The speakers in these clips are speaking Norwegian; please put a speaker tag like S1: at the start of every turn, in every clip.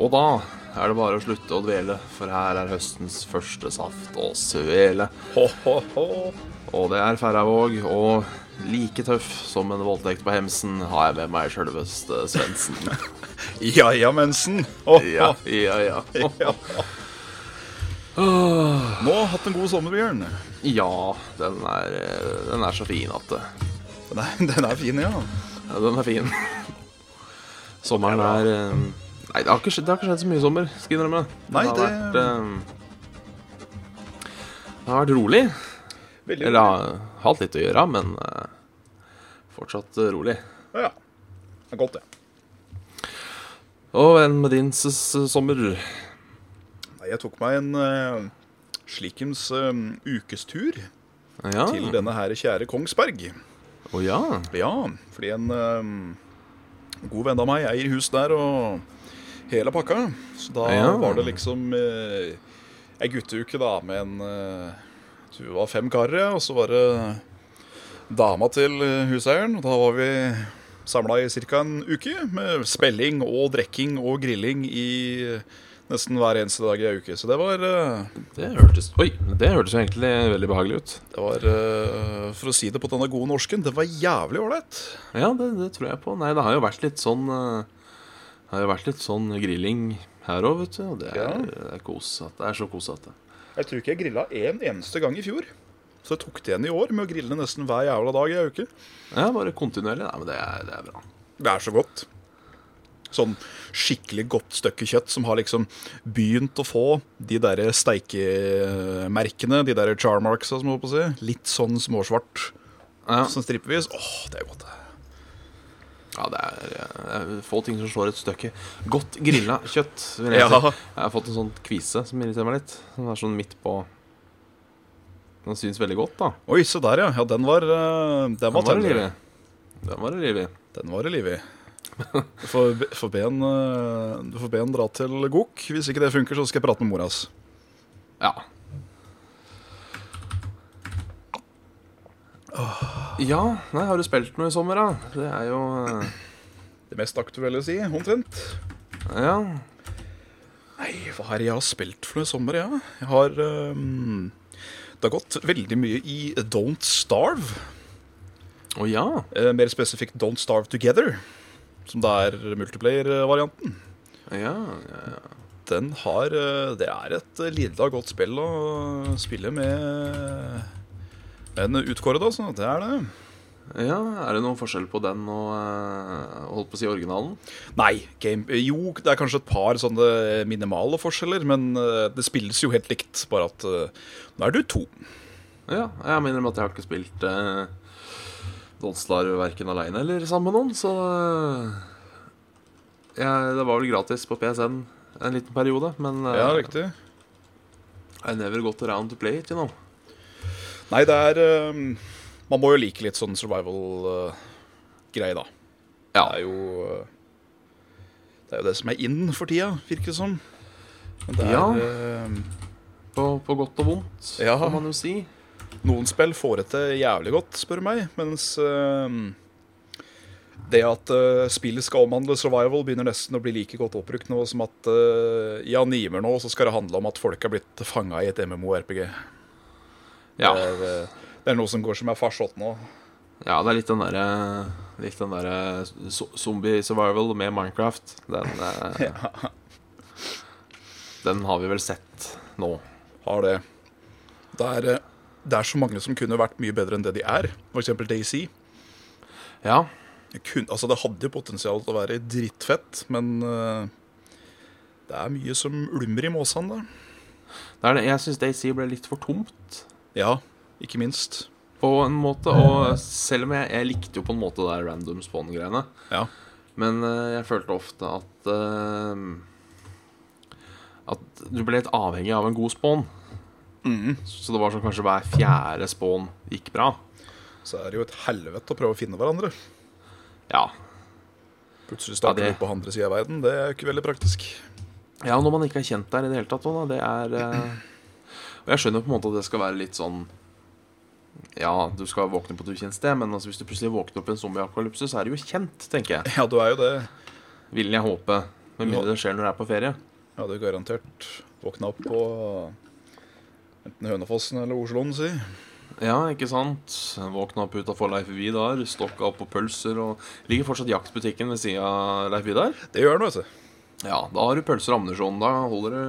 S1: Og da er det bare å slutte å dvele, for her er høstens første saft og svele.
S2: Ho, ho, ho.
S1: Og det er Færøyvåg, og like tøff som en voldtekt på hemsen har jeg med meg sjølveste Svendsen.
S2: Ja ja, mensen. Ho, ho.
S1: Ja, ja, ja.
S2: Ja. Nå har hatt en god sommer, Bjørn.
S1: Ja, den er, den er så fin at det
S2: Den er, den er fin, ja.
S1: Ja, Den er fin. Sommeren er eh, Nei, det har ikke skjedd, det har ikke skjedd så mye i sommer, skal jeg innrømme.
S2: Nei,
S1: har
S2: det-
S1: vært, eh, det har vært rolig.
S2: Veldig
S1: Eller har hatt litt å gjøre, men eh, fortsatt eh, rolig.
S2: Ja, ja. Det er godt, det.
S1: Og enn med din s s- sommer?
S2: Nei, Jeg tok meg en eh, slikens eh, ukestur
S1: Ja.
S2: til denne her kjære Kongsberg.
S1: Å ja.
S2: Ja, fordi en eh, god venn av meg eier hus der og hele pakka. Så da
S1: Ja.
S2: var det liksom uh, ei gutteuke, da, med en eh, Du var fem karer, og så var det dama til eh, huseieren. Og da var vi samla i ca. en uke med spelling og drikking og grilling i eh, nesten hver eneste dag i ei uke. Så det var eh,
S1: Det hørtes Oi, det hørtes jo egentlig veldig behagelig ut.
S2: det var, eh, for å si det på denne gode norsken, det var jævlig ålreit.
S1: Ja, det, det tror jeg på. Nei, det har jo vært litt sånn eh, Det har jo vært litt sånn grilling her òg, vet du. Og det er,
S2: Ja.
S1: det er kos. At det er så kosete.
S2: Jeg tror ikke jeg grilla én eneste gang i fjor. Så jeg tok det igjen i år med å grille nesten hver jævla dag i ei uke.
S1: Ja, bare kontinuerlig. Nei, men det er, det er bra.
S2: Det er så godt. Sånn skikkelig godt stykke kjøtt som har liksom begynt å få de der steikemerkene, de der charmarksa, som jeg holdt på å si. Litt sånn småsvart
S1: Ja,
S2: som strippevis. Åh, det er godt.
S1: ja det, er, eh, det er få ting som slår et stykke godt grilla kjøtt. Vil jeg,
S2: Ja.
S1: si. jeg har fått en sånn kvise som irriterer meg litt. Den er sånn midt på Den syns veldig godt, da.
S2: Oi, se der, ja. Ja, den var eh, Den
S1: Den
S2: var
S1: var det liv
S2: tender.
S1: i. Den var det liv i.
S2: Den var det liv i. Du får, be- får be en, eh, du får be en dra til Gok. Hvis ikke det funker, så skal jeg prate med mora hans.
S1: Ja. Ja, nei, har du spilt noe i sommer, da? Det er jo eh,
S2: Det mest aktuelle å si, omtrent.
S1: Ja.
S2: Nei, hva er det jeg har spilt for noe i sommer, ja? Jeg har ehm, Det har gått veldig mye i Don't Starve.
S1: Å ja.
S2: Eh, mer spesifikt Don't Starve Together, som da er multiplayer-varianten.
S1: Ja, ja, ja.
S2: Den har eh, Det er et lidelig godt spill å spille med en utkåret, altså. Det er det.
S1: ja. Er det noen forskjell på den og eh, holdt på å si originalen?
S2: Nei, game, jo, det er kanskje et par sånne minimale forskjeller, men eh, det spilles jo helt likt, bare at eh, nå er du to.
S1: Ja, jeg mener med at jeg har ikke spilt eh, Donslar verken aleine eller sammen med noen, så eh, jeg, Det var vel gratis på PSN en liten periode, men eh,
S2: Ja, riktig.
S1: I never got around to play it, you know.
S2: Nei, det er eh, Man må jo like litt sånn survival-greie, da.
S1: Ja.
S2: Det er jo eh, Det er jo det som er in for tida, virker det som. Men det er,
S1: Ja.
S2: eh,
S1: På, på godt og vondt,
S2: Ja.
S1: kan man jo si.
S2: Noen spill får det til jævlig godt, spør du meg, mens eh, det at eh, spillet skal omhandle survival, begynner nesten å bli like godt oppbrukt nå som at eh, i Animer nå så skal det handle om at folk er blitt fanga i et MMO-RPG.
S1: Ja.
S2: Det, er, eh, det er noe som går som er farsott nå.
S1: ja, det er litt den derre Litt den derre so- zombie survival med Minecraft. Den, eh, den har vi vel sett nå.
S2: har det. Det er, eh, det er så mange som kunne vært mye bedre enn det de er. For eksempel Daisy.
S1: Ja.
S2: Jeg kun- altså det hadde jo potensial til å være drittfett, men eh, det er mye som ulmer i måsene, da.
S1: Det er det. Jeg syns Daisy ble litt for tomt.
S2: Ja, ikke minst.
S1: på en måte. Og selv om jeg, jeg likte jo på en måte det der random spawn-greiene,
S2: Ja.
S1: men eh, jeg følte ofte at eh, At du ble litt avhengig av en god spawn. Så det var sånn kanskje hver fjerde spawn gikk bra.
S2: Så er det jo et helvete å prøve å finne hverandre.
S1: Ja.
S2: Plutselig
S1: Ja,
S2: starter
S1: det-
S2: du på andre sida av verden. Det er jo ikke veldig praktisk.
S1: ja, når man ikke er kjent der i det hele tatt, da, det er eh, Og jeg skjønner på en måte at det skal være litt sånn Ja, du skal våkne på et ukjent sted, men altså, hvis du plutselig våkner opp i en zombieapokalypse, så er det jo kjent, tenker jeg.
S2: Ja, du er jo det.
S1: Vil jeg håpe. Med mindre det skjer når jeg er på ferie.
S2: Jeg hadde jo garantert våkna opp på enten Hønefossen eller Osloen, si.
S1: Ja, ikke sant? Våkna opp utafor Leif Vidar, stokka opp på pølser og Ligger fortsatt jaktbutikken ved sida av Leif Vidar?
S2: Det gjør noe, vet du. altså.
S1: Ja, da har du pølser og ammunisjon. Da holder det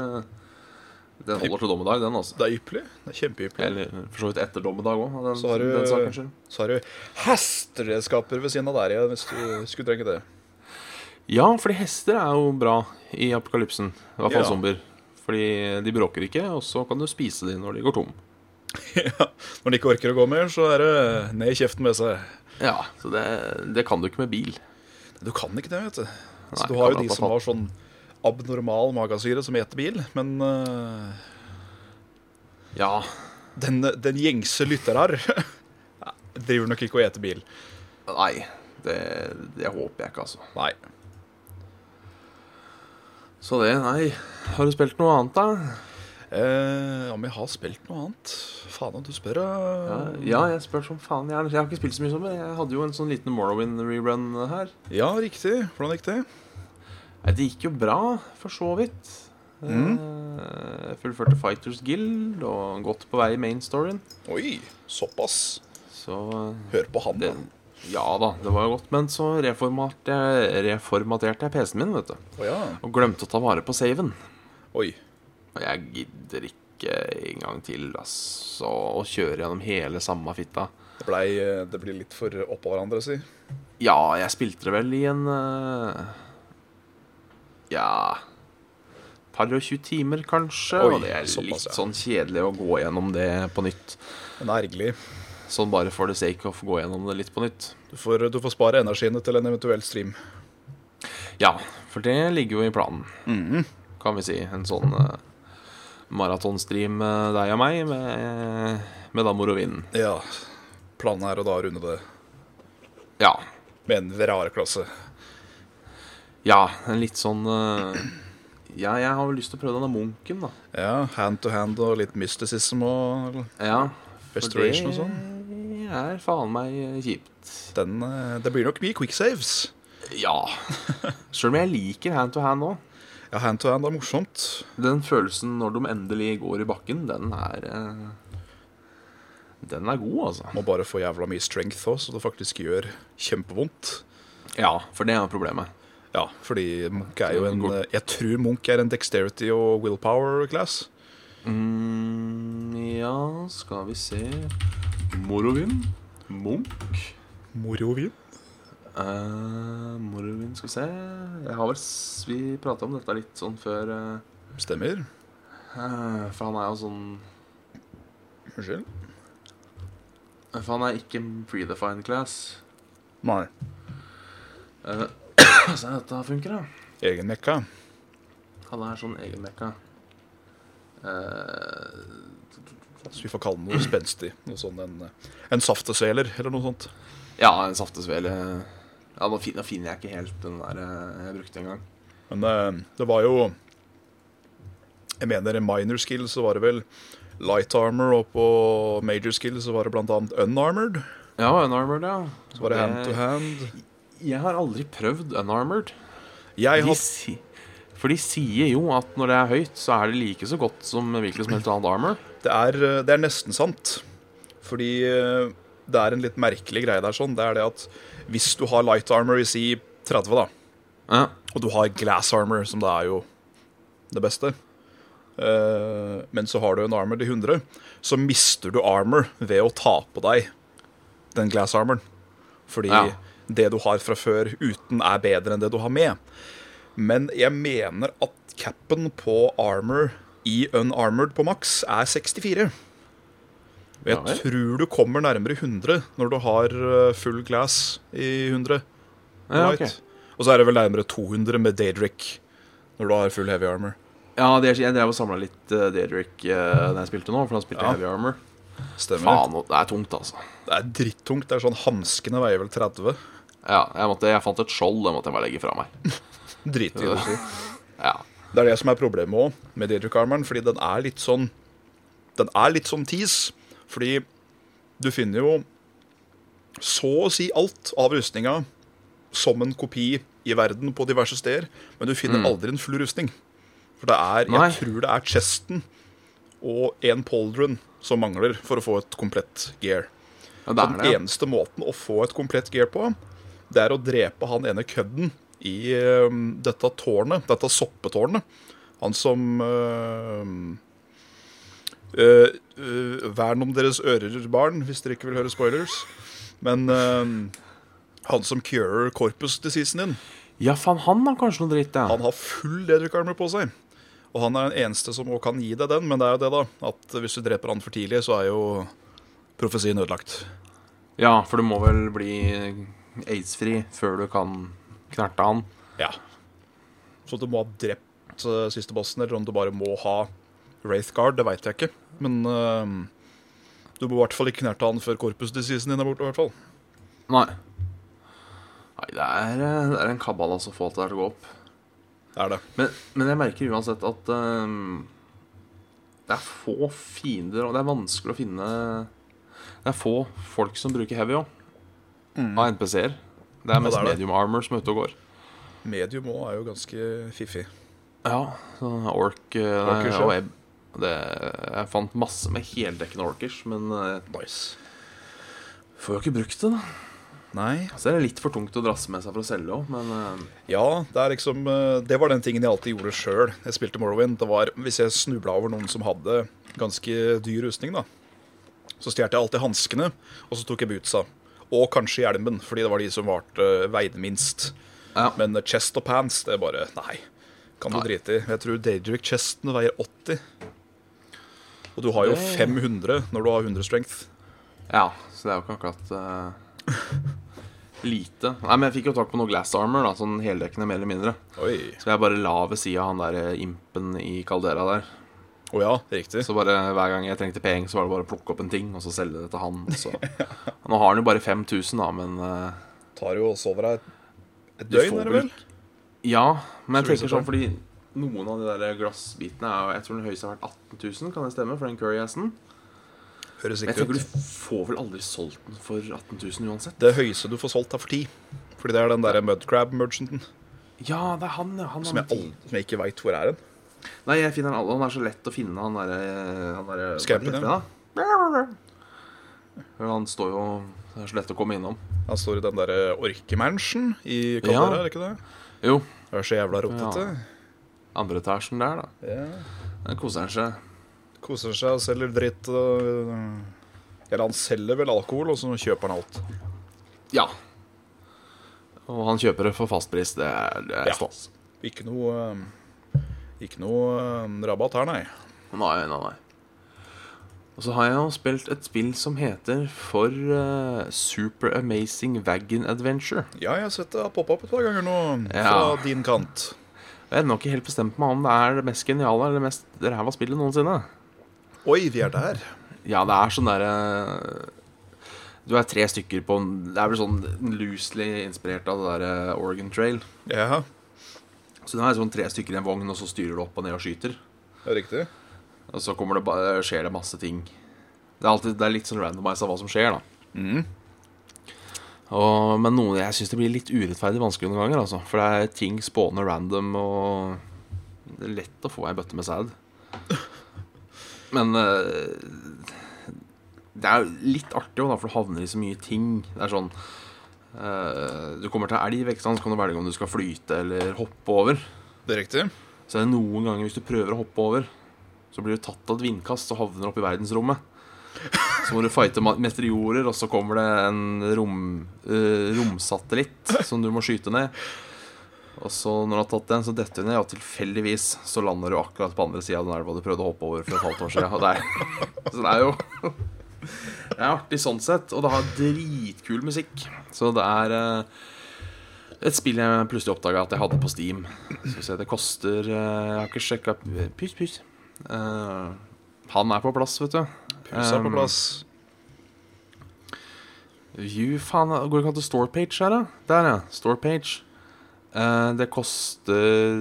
S1: Den holder til dommedag, den, altså.
S2: Det er ypperlig. Det er kjempeypperlig.
S1: Eller for så vidt etter dommedag òg, den,
S2: Så har
S1: den sakens
S2: du,
S1: skyld.
S2: så har du hesteredskaper ved siden av der igjen, hvis du skulle trenge det.
S1: Ja, fordi hester er jo bra i apokalypsen. I hvert fall
S2: Ja.
S1: zombier. Fordi de bråker ikke, og så kan du spise de når de går tom.
S2: Ja, Når de ikke orker å gå mer, så er det ned i kjeften med seg.
S1: Ja, så det, det kan du ikke med bil.
S2: Du kan ikke det, vet du. Så
S1: Nei,
S2: du har
S1: kan jeg
S2: jo de
S1: ta
S2: som
S1: fatt?
S2: har sånn abnormal magesyre som eter bil, men eh,
S1: Ja,
S2: den, den gjengse lytter her ja, driver nok ikke og eter bil.
S1: Nei, det, det håper jeg ikke, altså.
S2: Nei.
S1: Så det, nei. Har du spilt noe annet, da?
S2: Eh, om jeg har spilt noe annet? Faen om du spør,
S1: Ja,
S2: eh.
S1: ja jeg spør som faen. Jeg, jeg har ikke spilt så mye som det. Jeg hadde jo en sånn liten Morrowind-rerun her.
S2: Ja, riktig. Hvordan gikk det?
S1: Nei, det gikk jo bra, for så vidt. Eh, fullførte Fighters Guild og godt på vei i main storyen.
S2: Oi, såpass.
S1: Så eh,
S2: Hør på han,
S1: det,
S2: da.
S1: Ja da, det var jo godt. Men så reformaterte jeg, reformaterte jeg PC-en min, vet du.
S2: Å ja.
S1: Og glemte å ta vare på saven.
S2: Oi.
S1: Og jeg gidder ikke en gang til altså, å kjøre gjennom hele samme fitta.
S2: Det, blei, eh, det blir litt for oppå hverandre, si.
S1: Ja, jeg spilte det vel i en eh, Ja Par og 20 timer, kanskje.
S2: Oi,
S1: og det er
S2: såpass,
S1: litt
S2: ja.
S1: sånn kjedelig å gå gjennom det på nytt.
S2: Men det er ergerlig.
S1: Sånn bare for the sake of å gå gjennom det litt på nytt.
S2: Du får, du får spare energiene til en eventuell stream.
S1: Ja, for det ligger jo i planen, kan vi si. En sånn eh, maratonstream med deg og meg med, med damer og vind.
S2: Ja. Planen er å da runde det
S1: Ja.
S2: med en VRAR-klasse.
S1: Ja, en litt sånn eh, Ja, jeg har vel lyst til å prøve denne munken, da.
S2: Ja, hand to hand og litt mysticism og
S1: Ja, for
S2: restoration og sånn.
S1: Det er faen meg kjipt.
S2: Den, eh, det blir nok mye quick saves.
S1: Ja. Sjøl om jeg liker hand to hand òg.
S2: Ja, hand to hand er morsomt.
S1: Den følelsen når de endelig går i bakken, den er eh, Den er god, altså.
S2: Må bare få jævla mye strength òg, så det faktisk gjør kjempevondt.
S1: Ja, for det er problemet.
S2: Ja, fordi Munch er jo en eh, Jeg tror Munch er en dexterity og willpower class.
S1: Mm, ja, skal vi se Morovin. Munch.
S2: Morovin?
S1: Uh, Morovin, skal vi se Jeg har vel s Vi prata om dette litt sånn før. eh,
S2: Stemmer.
S1: Eh, For han er jo sånn
S2: Unnskyld?
S1: For han er ikke en predefined class.
S2: Nei.
S1: Eh, Så dette funker, da.
S2: Egen mekka.
S1: Han er sånn egenmekka. Eh,
S2: Så vi får kalle den noe spenstig. Noe sånn en, en safteseler eller noe sånt.
S1: ja, en saftesvele. Ja, nå finner, finner jeg ikke helt den der eh, jeg brukte en gang.
S2: Men eh, det var jo Jeg mener i minor skill så var det vel light armor, og på major skill så var det blant annet unarmored.
S1: Ja, unarmored, ja.
S2: Så var det hand to hand.
S1: Jeg har aldri prøvd unarmored. De
S2: Jeg har
S1: si, for de sier jo at når det er høyt, så er det like så godt som hvilket som helst annet armor.
S2: Det er, eh, det er nesten sant. Fordi eh, det er en litt merkelig greie der. sånn Det er det at hvis du har light armor i si 30, da,
S1: Ja,
S2: og du har glass armor, som da er jo det beste, eh, men så har du en armor til 100, så mister du armor ved å ta på deg den glass armoren. Fordi
S1: Ja.
S2: det du har fra før uten, er bedre enn det du har med. Men jeg mener at capen på armor i unarmored på maks er 64. Jeg
S1: Ja vel.
S2: tror du kommer nærmere 100 når du har eh, full glass i 100.
S1: Ja, ok.
S2: light. Og så er det vel nærmere 200 med Daedric når du har full heavy armor.
S1: ja det, er- jeg drev og samla litt uh, Dedrick uh, da jeg spilte nå, for han spilte
S2: Ja.
S1: Heavy Armor.
S2: Stemmer.
S1: Faen, det er tungt, altså.
S2: Det er drittungt. Det er sånn Hanskene veier vel 30.
S1: Ja, jeg, måtte, jeg fant et skjold, det måtte jeg bare legge fra meg.
S2: Drit i det.
S1: Ja,
S2: Det er det som er problemet òg med Daedric Armoren, fordi den er litt sånn Den er litt sånn tis. Fordi du finner jo så å si alt av rustninga som en kopi i verden på diverse steder, men du finner aldri en full rustning. For det er
S1: Nei.
S2: Jeg tror det er chesten og en pauldron som mangler for å få et komplett gear.
S1: ja det
S2: Så
S1: er
S2: den
S1: det. ja.
S2: eneste måten å få et komplett gear på, det er å drepe han ene kødden i øhm, dette tårnet, dette soppetårnet. Han som øhm, øh, øh, Vern om deres ører, barn, hvis dere ikke vil høre spoilers. Men øhm, han som curer corpus diseasen din,
S1: Ja, faen, han har kanskje noe dritt, ja.
S2: han har full lederkarmer på seg. Og han er den eneste som også kan gi deg den, men det er jo det, da. At hvis du dreper han for tidlig, så er jo profesien ødelagt.
S1: Ja, for du må vel bli aids-fri før du kan knerte han.
S2: Ja. Så at du må ha drept eh, siste bossen, eller om du bare må ha Wraithguard, det veit jeg ikke. Men eh, du må i hvert fall ikke knerte han før corpus diseasen din er borte. i hvert fall.
S1: Nei. Nei, det er, eh, det er en kabal altså å få alt det der til å gå opp.
S2: Det er det.
S1: Men, men jeg merker uansett at eh, det er få fiender, og det er vanskelig å finne Det er få folk som bruker heavy òg,
S2: Mm.
S1: av NPC-er. Det er mest
S2: det er det.
S1: medium armor som er ute og går.
S2: Medium òg er jo ganske fiffig.
S1: Ja, sånn ork eh,
S2: Orkers, ja.
S1: og ebb. Det, jeg fant masse med heldekkende orkers, men eh,
S2: Nice.
S1: får jo ikke brukt det, da.
S2: Nei.
S1: Så er det litt for tungt å drasse med seg for å selge òg, men eh,
S2: Ja, det er liksom eh, Det var den tingen jeg alltid gjorde sjøl. Jeg spilte Morrowind. Det var Hvis jeg snubla over noen som hadde ganske dyr rustning, da, så stjal jeg alltid hanskene, og så tok jeg bootsa. Og kanskje hjelmen, fordi det var de som varte, eh, veide minst.
S1: ja.
S2: Men eh, chest og pants, det er bare Nei. Kan du
S1: Nei.
S2: drite i. Jeg tror Daedric-chesten veier 80. Og du har jo
S1: Det-
S2: 500 når du har 100 strength.
S1: ja. Så det er jo ikke akkurat eh, lite. Nei, men jeg fikk jo tak på noe glass armor, da, sånn heldekkende mer eller mindre.
S2: Oi.
S1: Så jeg bare la ved sida av han der eh, impen i Caldera der.
S2: Å ja, riktig.
S1: Så bare hver gang jeg trengte penger, så var det bare å plukke opp en ting, og så selge det til han. Og så. Nå har han jo bare 5000, da, men eh,
S2: Tar jo og sover deg et
S1: Du
S2: døgn,
S1: får
S2: er
S1: vel
S2: det vel?
S1: Ja, men jeg
S2: Så viser
S1: tenker sånn fordi noen av de der glassbitene er jo Jeg tror den høyeste har vært 18 000, kan det stemme? For den curry-assen.
S2: Høres
S1: Men jeg
S2: riktig
S1: tenker
S2: ut.
S1: du får vel aldri solgt den for 18 000 uansett?
S2: Det høyeste du får solgt, er for 10. Fordi det er den derre Mudcrab-merchanten
S1: Ja, det er han, ja. Han
S2: som, jeg
S1: er
S2: aldri- som jeg ikke veit hvor er hen.
S1: Nei, jeg finner han alle. Han er så lett å finne, han derre han der, eh,
S2: Skrempen,
S1: ja. Han står jo Det er så lett å komme innom.
S2: Han står i den derre Orkemansion i
S1: Ja.
S2: Caldera, er det ikke det?
S1: Jo,
S2: Det er så jævla rotete.
S1: andre etasjen der, da.
S2: Ja.
S1: Der koser han seg.
S2: Koser seg og selger dritt. Og, eller han selger vel alkohol, og så kjøper han alt.
S1: Ja. Og han kjøper det for fastpris. Det er, det er
S2: Ja.
S1: stas.
S2: Ikke noe eh, Ikke noe eh, rabatt her, nei.
S1: Nei, nei, nei. Og så har jeg jo spilt et spill som heter for eh, Super Amazing Wagon Adventure.
S2: Ja, jeg har sett det har poppa opp et par ganger nå
S1: Ja.
S2: fra din kant.
S1: Jeg har ennå ikke helt bestemt meg om det er det mest geniale eller det mest ræva spillet noensinne.
S2: Oi, vi er der.
S1: Ja, det er sånn derre Du er tre stykker på en Det er vel sånn loosely inspirert av det derre Oregon Trail.
S2: Ja,
S1: Så det er sånn tre stykker i en vogn, og så styrer du opp og ned og skyter.
S2: det er riktig.
S1: Og så kommer det, ba- skjer det masse ting. Det er, alltid, det er litt sånn randomized av hva som skjer, da. Og, men noen, jeg syns det blir litt urettferdig vanskelig noen ganger, altså. For det er ting spåner random, og det er lett å få ei bøtte med sæd. Men eh, det er jo litt artig, også, da, for du havner i så mye ting. Det er sånn eh, Du kommer til ei elv, ikke sant? så kan du velge om du skal flyte eller hoppe over.
S2: Det er riktig.
S1: Så er det noen ganger hvis du prøver å hoppe over, så blir du tatt av et vindkast og havner oppe i verdensrommet. Så må du fighte ma- meteorer, og så kommer det en rom, eh, romsatellitt som du må skyte ned. Og så når du har tatt den, så detter du ned, og tilfeldigvis så lander du akkurat på andre sida av den elva du prøvde å hoppe over for et halvt år siden. Og det er, så det er jo Det er artig sånn sett, og det har dritkul musikk. Så det er eh, et spill jeg plutselig oppdaga at jeg hadde på Steam. Så vi ser, det koster eh, Jeg har ikke sjekka Pys, pys. Eh, han er på plass, vet du.
S2: Pus er på
S1: Um,
S2: plass.
S1: View, faen, går det ikke an til storepage her, da? Der, ja. Storepage. Uh, det koster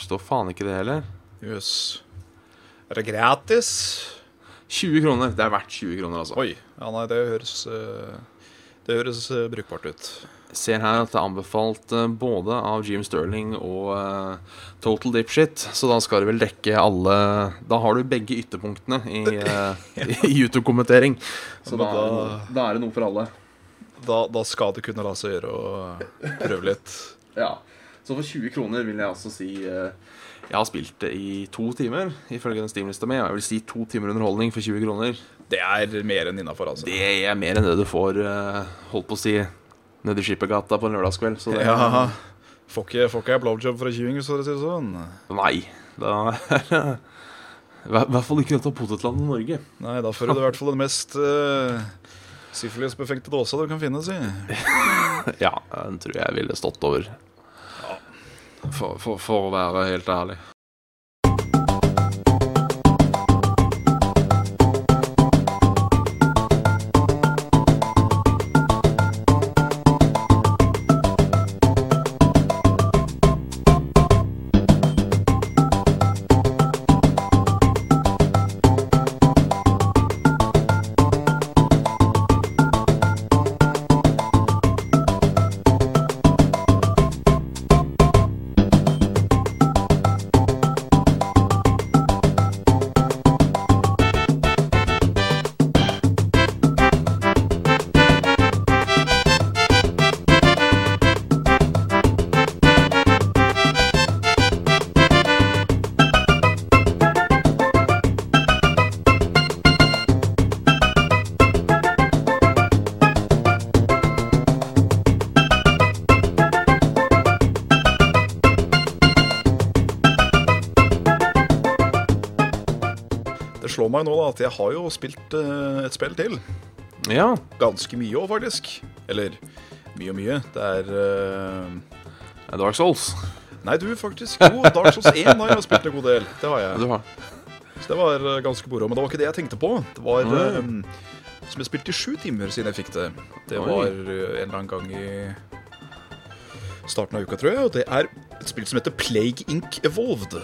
S1: Står faen ikke det heller.
S2: Jøss. Er det gratis?
S1: 20 kroner. Det er verdt 20 kroner, altså.
S2: Oi. Ja, nei, det høres eh, Det høres eh, brukbart ut.
S1: Ser her at det er anbefalt eh, både av Jim Sterling og eh, Total Dipshit, så da skal det vel dekke alle Da har du begge ytterpunktene i, eh, i YouTube-kommentering. Så
S2: Men
S1: da, er det
S2: da-
S1: noe- da er det noe for alle.
S2: Da, da skal det kunne la seg gjøre å prøve litt.
S1: Ja. Så for 20 kroner vil jeg altså si eh, Jeg har spilt det i to timer, ifølge den Steam-lista mi. Og jeg vil si to timer underholdning for 20 kroner.
S2: Det er mer enn innafor, altså.
S1: Det er mer enn det du får, eh, holdt på å si, nede i Skippergata på en lørdagskveld. Så det
S2: Ja. Får ikke, får ikke jeg blowjob fra tjuving, hvis dere sier det sånn.
S1: Nei. Da er det I hver- hvert fall ikke noe av potetland i Norge.
S2: Nei, da får du i hvert fall den mest uh, syfilisbefengte dåsa du kan finne, si.
S1: Ja, den tror jeg ville stått over. For, for, for å være helt ærlig.
S2: Det slår meg nå da at jeg har jo spilt eh, et spill til.
S1: Ja.
S2: Ganske mye òg, faktisk. Eller mye og mye. Det er eh,
S1: Dark Souls.
S2: Nei, du, faktisk. Jo, Dark Souls 1 har jeg spilt en god del. Det har jeg.
S1: Du har.
S2: Så det var eh, ganske moro. Men det var ikke det jeg tenkte på. Det var eh, som jeg spilte i sju timer siden jeg fikk det. Det
S1: Oi.
S2: var eh, en eller annen gang i starten av uka, tror jeg. Og det er et spill som heter Plague Inc. Evolved.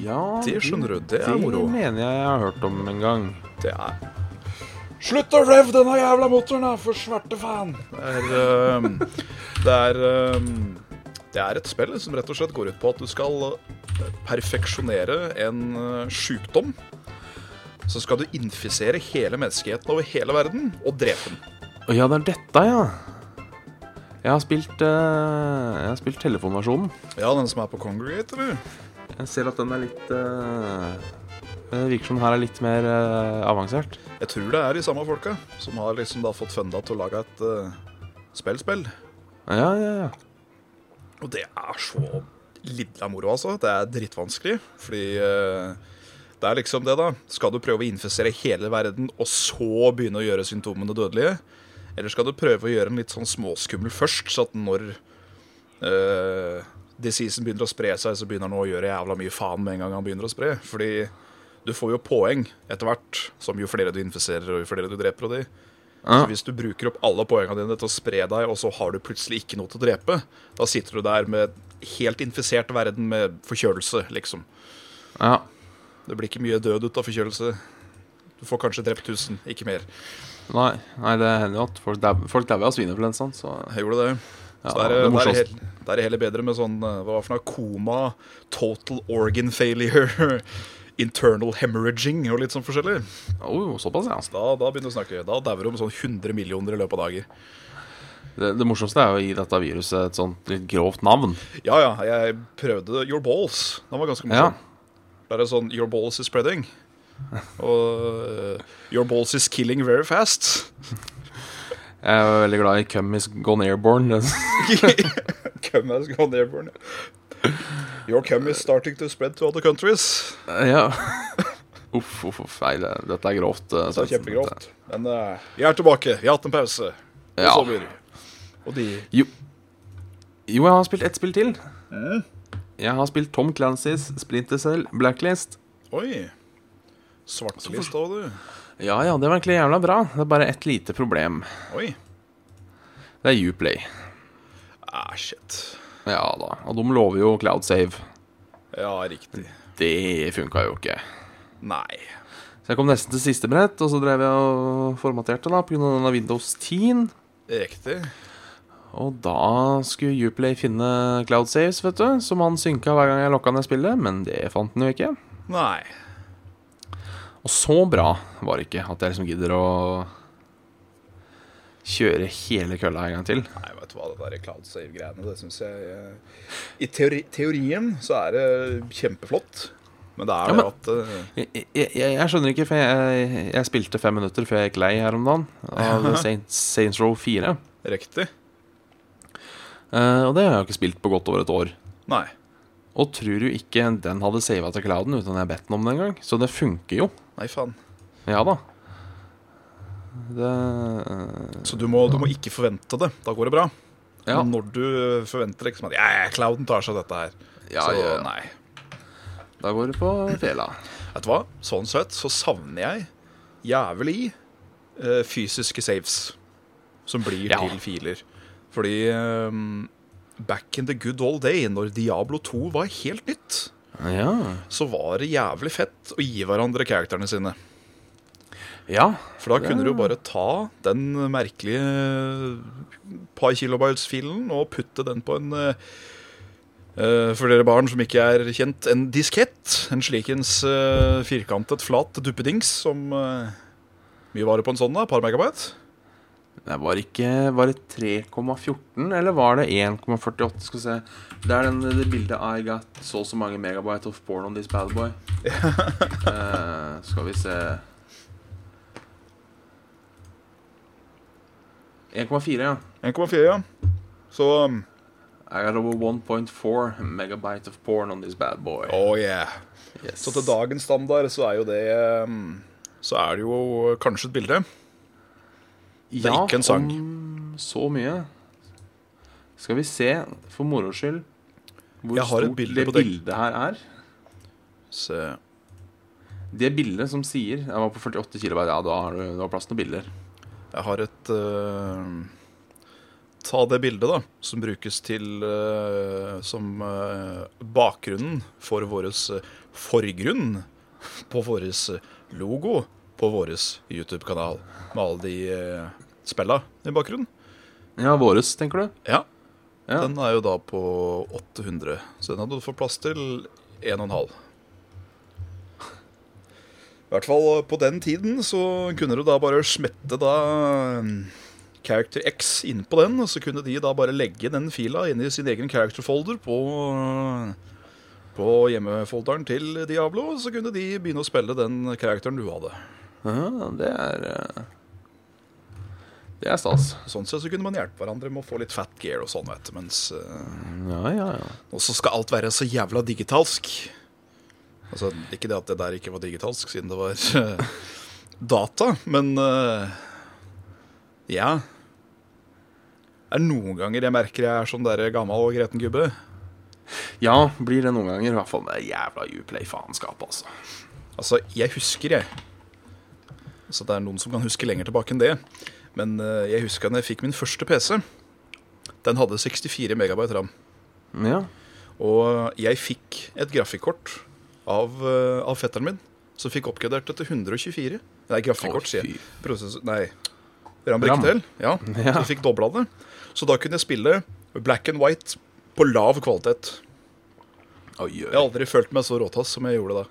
S1: Ja,
S2: Det skjønner du. Det er moro.
S1: Det mener jeg jeg har hørt om en gang.
S2: Det er Slutt å rev denne jævla motoren, da, for svarte faen! Det er ehm, Det er ehm, Det er et spill som rett og slett går ut på at du skal øh, perfeksjonere en eh, sjukdom. Så skal du infisere hele menneskeheten over hele verden og drepe den.
S1: Å ja, det er dette, ja. Jeg har spilt, eh, jeg har spilt telefonversjonen.
S2: Ja, den som er på Congregate, eller?
S1: Jeg ser at den er litt eh, Det virker som den her er litt mer eh, avansert.
S2: Jeg tror det er de samme folka som har liksom da fått funda til å lage et eh, spill-spill.
S1: Ja, ja, ja.
S2: Og det er så lidla moro, altså. Det er drittvanskelig. Fordi eh, det er liksom det, da. Skal du prøve å infisere hele verden, og så begynne å gjøre symptomene dødelige? Eller skal du prøve å gjøre den litt sånn småskummel først, så at når eh, diseasen begynner å spre seg, så begynner den å gjøre jævla mye faen med en gang han begynner å spre? Fordi du får jo poeng etter hvert, som jo flere du infiserer, og jo flere du dreper og de.
S1: Ja.
S2: Så hvis du bruker opp alle poengene dine til å spre deg, og så har du plutselig ikke noe til å drepe, da sitter du der med helt infisert verden med forkjølelse, liksom.
S1: ja.
S2: Det blir ikke mye død ut av forkjølelse. Du får kanskje drept 1000, ikke mer.
S1: Nei, nei, det hender jo at folk dau- folk dauer av svineinfluensa. Så
S2: Jeg gjorde det.
S1: ja,
S2: Så det er, det, er
S1: morsomste-
S2: heller, det er heller bedre med sånn eh, Hva var det for noe? Koma, total organ failure, internal hemorrhaging og litt sånn forskjellig.
S1: Å, såpass, ja.
S2: Da, da begynner du å snakke. Da dauer du om sånn 100 millioner i løpet av dager.
S1: Det, det morsomste er jo å gi dette viruset et sånt litt grovt navn.
S2: Ja, ja, jeg prøvde Your Balls. Den var ganske morsom. Det er sånn Your Balls is spreading. Og eh, Your Balls is killing very fast.
S1: Jeg er jo veldig glad i Cum is gone airborne.
S2: Cum has gone airborne. Your cum is starting to spread to other countries.
S1: ja. Uff, uff, uff. Nei, det- dette er grovt. eh,
S2: Det er
S1: Svendsen.
S2: kjempegrovt. Men eh, jeg er tilbake. Jeg har hatt en pause. Og
S1: Ja.
S2: så blir det. Og de
S1: Jo. jo, jeg har spilt ett spill til.
S2: mm.
S1: Jeg har spilt Tom Clancys Splinter Cell Blacklist.
S2: Oi. Svartelist òg, du.
S1: Ja ja, det var egentlig jævla bra. Det er bare ett lite problem.
S2: Oi.
S1: Det er Uplay.
S2: Ah, shit.
S1: Ja da. Og de lover jo cloud save.
S2: Ja, riktig.
S1: Det funka jo ikke.
S2: Nei.
S1: Så jeg kom nesten til siste brett, og så drev jeg og formaterte da pga. denne Windows 10.
S2: Riktig.
S1: Og da skulle Uplay finne cloud saves, vet du, som han synka hver gang jeg lokka ned spillet, men det fant han jo ikke.
S2: Nei.
S1: Og så bra var det ikke at jeg liksom gidder å kjøre hele kølla en gang til.
S2: Nei, vet du hva, det der cloud save-greiene, det syns jeg eh, I teori teorien så er det kjempeflott, men det
S1: Ja,
S2: er det
S1: men-
S2: at eh,
S1: Jeg, jeg, jeg jeg skjønner ikke, for jeg, jeg spilte fem minutter før jeg gikk lei her om dagen av Saints, Saints Row 4.
S2: Riktig?
S1: Eh, og det har jeg jo ikke spilt på godt over et år.
S2: Nei.
S1: Og tror du ikke den hadde sava til clouden uten at jeg bedt den om det engang? Så det funker jo.
S2: Nei, faen.
S1: Ja da. Det eh,
S2: Så du må, du må ikke forvente det. Da går det bra.
S1: Ja.
S2: Men når du forventer liksom at Ja, ja, clouden tar seg av dette her,
S1: Ja,
S2: så
S1: ja, ja.
S2: nei.
S1: Da går det på fela.
S2: Vet du hva? Sånn sett så savner jeg jævlig eh, fysiske saves som blir
S1: Ja.
S2: til filer. Fordi eh, back in the good old day, når Diablo 2 var helt nytt,
S1: Ja.
S2: så var det jævlig fett å gi hverandre karakterene sine.
S1: ja.
S2: For da kunne du jo bare ta den merkelige par kilobytes-filen og putte den på en eh, eh, For dere barn som ikke er kjent, en diskett. En slikens eh, firkantet, flat duppedings som eh, Mye varer på en sånn, da. Et par megabyte.
S1: Det var ikke Var det 3,14, eller var det 1,48? Skal vi se. Det er den, det bildet I got så og så mange megabyte of porn on this bad boy. Eh, skal vi se 1,4, ja.
S2: 1,4, ja. Så um,
S1: I got over 1.4 megabyte of porn on this bad boy.
S2: Oh yeah.
S1: Yes.
S2: Så til dagens standard så er jo det um, Så er det jo kanskje et bilde.
S1: det
S2: er ikke en sang.
S1: Om så mye. Skal vi se, for moro skyld, hvor
S2: Jeg har et
S1: stort
S2: bilde
S1: det
S2: på det.
S1: bildet her er.
S2: Se.
S1: Det bildet som sier Jeg var på 48 kilo Ja, da har du, du har plass til noen bilder
S2: Jeg har et eh, Ta det bildet, da, som brukes til eh, Som eh, bakgrunnen for våres eh, forgrunn på våres eh, logo på våres YouTube-kanal. Med alle de eh, spella i bakgrunnen.
S1: Ja, våres, tenker du?
S2: Ja.
S1: Ja.
S2: Den er jo da på 800, så den hadde du fått plass til 1,5. I hvert fall på den tiden så kunne du da bare smette da mm, Character X inn på den, og så kunne de da bare legge den fila inn i sin egen character folder på, på hjemmefolderen til Diablo, og så kunne de begynne å spille den characteren du hadde.
S1: Ja, det er eh, Det er stas
S2: Sånn sett så kunne man hjelpe hverandre med å få litt fat gear og sånn, vet du, mens eh,
S1: Ja, ja, ja
S2: Og så skal alt være så jævla digitalsk. Altså, ikke det at det der ikke var digitalsk, siden det var eh, data, men eh, Ja. Det er noen ganger jeg merker jeg er sånn der gammel og greten gubbe.
S1: Ja, blir det noen ganger I hvert fall med jævla Uplay-faenskap, altså
S2: Altså, jeg husker, jeg. Så det er noen som kan huske lenger tilbake enn det. Men eh, jeg husker da jeg fikk min første PC. Den hadde 64 megabyte ram.
S1: Ja,
S2: Og jeg fikk et grafikkort av, eh, av fetteren min, som fikk oppgradert det til 124. Nei, grafikkort,
S1: Å,
S2: sier
S1: fy.
S2: jeg. Prosess, nei,
S1: Ram.
S2: Ram Briktel. Ja,
S1: Ja.
S2: så jeg fikk dobla det. Så da kunne jeg spille black and white på lav kvalitet.
S1: oi,
S2: Jeg har
S1: oi
S2: aldri følt meg så råtass som jeg gjorde da.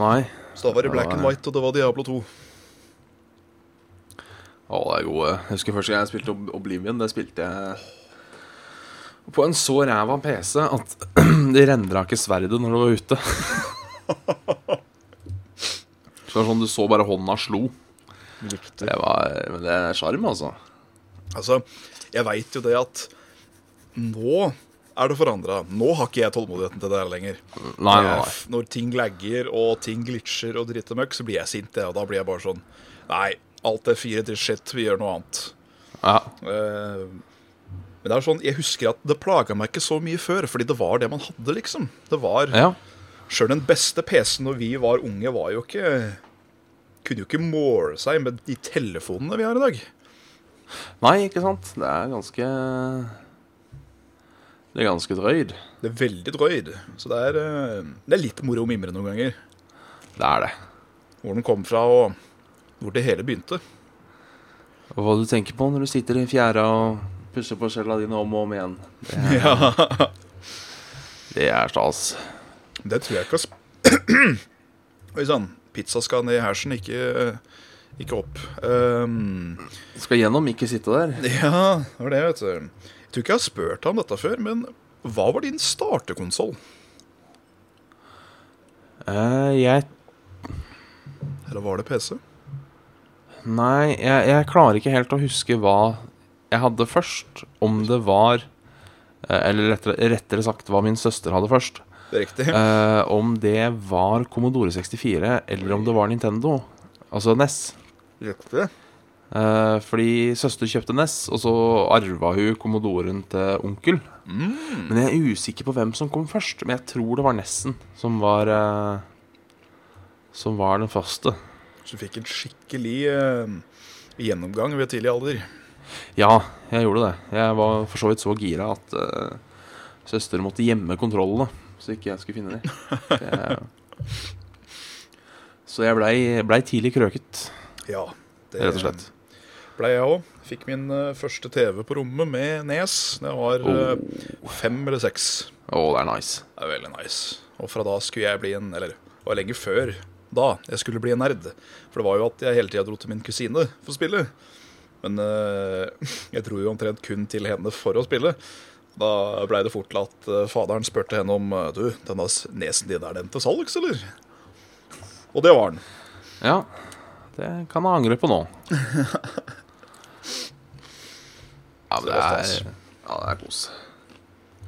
S1: Nei
S2: Så da var det black and white, og det var Diablo 2.
S1: Å, det er gode Jeg husker første gang jeg spilte Ob- Oblivion Det spilte jeg på en så ræva PC at de rendra ikke sverdet når det var ute. Så det var sånn du så bare hånda slo. Det var, men det er sjarm, altså.
S2: Altså, jeg veit jo det at nå er det forandra. Nå har ikke jeg tålmodigheten til det her lenger.
S1: Nei, nei, nei.
S2: Eh, Når ting lagger og ting glitcher og dritter møkk, så blir jeg sint. Jeg, og da blir jeg bare sånn Nei, alt er fire til shit. Vi gjør noe annet.
S1: Ja.
S2: Eh, Men det er sånn, jeg husker at det plaga meg ikke så mye før, fordi det var det man hadde, liksom. Det var,
S1: ja.
S2: Sjøl den beste PC-en når vi var unge, var jo ikke Kunne jo ikke måle seg med de telefonene vi har i dag.
S1: Nei, ikke sant? Det er ganske Det er ganske drøyd.
S2: Det er veldig drøyd. Så det er, eh, det er litt moro å mimre noen ganger.
S1: Det er det.
S2: Hvor den kom fra, og hvor det hele begynte.
S1: Og hva du tenker på når du sitter i fjæra og pusser på skjella dine om og om igjen.
S2: Ja.
S1: Det er stas.
S2: Det tror jeg ikke har sp... Oi sann. Pizza skal ned i hersen, ikke, ikke opp. Um,
S1: Skal gjennom, ikke sitte der.
S2: ja, det var det, vet du. Jeg tror ikke jeg har spurt ham dette før, men hva var din starterkonsoll?
S1: Eh, jeg
S2: Eller var det PC?
S1: Nei, jeg, jeg klarer ikke helt å huske hva jeg hadde først. Om det var eh, Eller rettere, rettere sagt hva min søster hadde først.
S2: Det er riktig.
S1: Eh, om det var Commodore 64, eller om det var Nintendo. Altså NES.
S2: Riktig.
S1: Eh, fordi søster kjøpte NES, og så arva hun Commodoren til onkel.
S2: Mm.
S1: Men jeg er usikker på hvem som kom først. Men jeg tror det var Nessen som var eh, Som var den første.
S2: Så du fikk en skikkelig eh, gjennomgang ved tidlig alder.
S1: Ja, jeg gjorde det. Jeg var for så vidt så gira at eh, søster måtte gjemme kontrollene, så ikke jeg skulle finne dem. Jeg, så jeg blei blei tidlig krøket,
S2: Ja, det
S1: rett og slett.
S2: ble jeg òg. Fikk min eh, første TV på rommet med E Nes. Det var eh,
S1: Oh.
S2: fem eller seks.
S1: Å, det er nice.
S2: Det er veldig nice. Og fra da skulle jeg bli en Eller det var lenge før da jeg skulle bli en nerd. For det var jo at jeg hele tida dro til min kusine for å spille. Men eh, jeg dro jo omtrent kun til henne for å spille. Da blei det fort til at eh, faderen spurte henne om eh, Du, denne s- nesen din, er den til salgs, eller? Og det var den.
S1: Ja, det kan jeg angre på nå. Ja, men det er Ja, det er kos.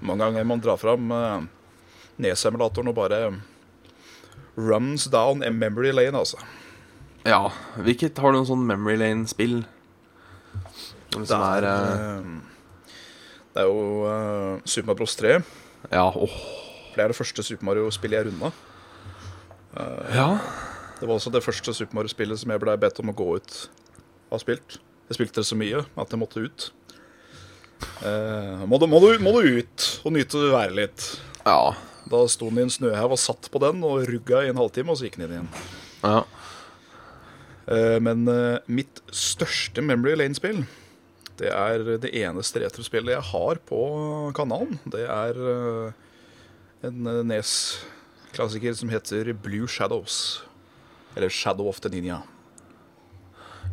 S2: Mange ganger man drar fram uh, nesemulatoren og bare eh, runs down a memory lane, altså.
S1: Ja. Hvilket har du noen sånn Memory Lane-spill? Som er eh,
S2: eh, Det er jo eh, Super Mario Bros. 3.
S1: eh, Ja, åh.
S2: For det er det første Super Mario-spillet jeg runda.
S1: Ja.
S2: Det var også det første Super Mario-spillet som jeg ble bedt om å gå ut av spilt. Jeg spilte det så mye at jeg måtte ut. Eh, må, du, må, du, må du ut og nyte været litt.
S1: Ja.
S2: Da sto den i en snøhaug og satt på den og rugga i en halvtime, og så gikk den inn igjen.
S1: ja.
S2: Eh, Men eh, mitt største Memory Lane-spill, det er det eneste retrospillet jeg har på kanalen. Det er eh, en eh, Nes-klassiker som heter Blue Shadows. Eller Shadow of the Ninja.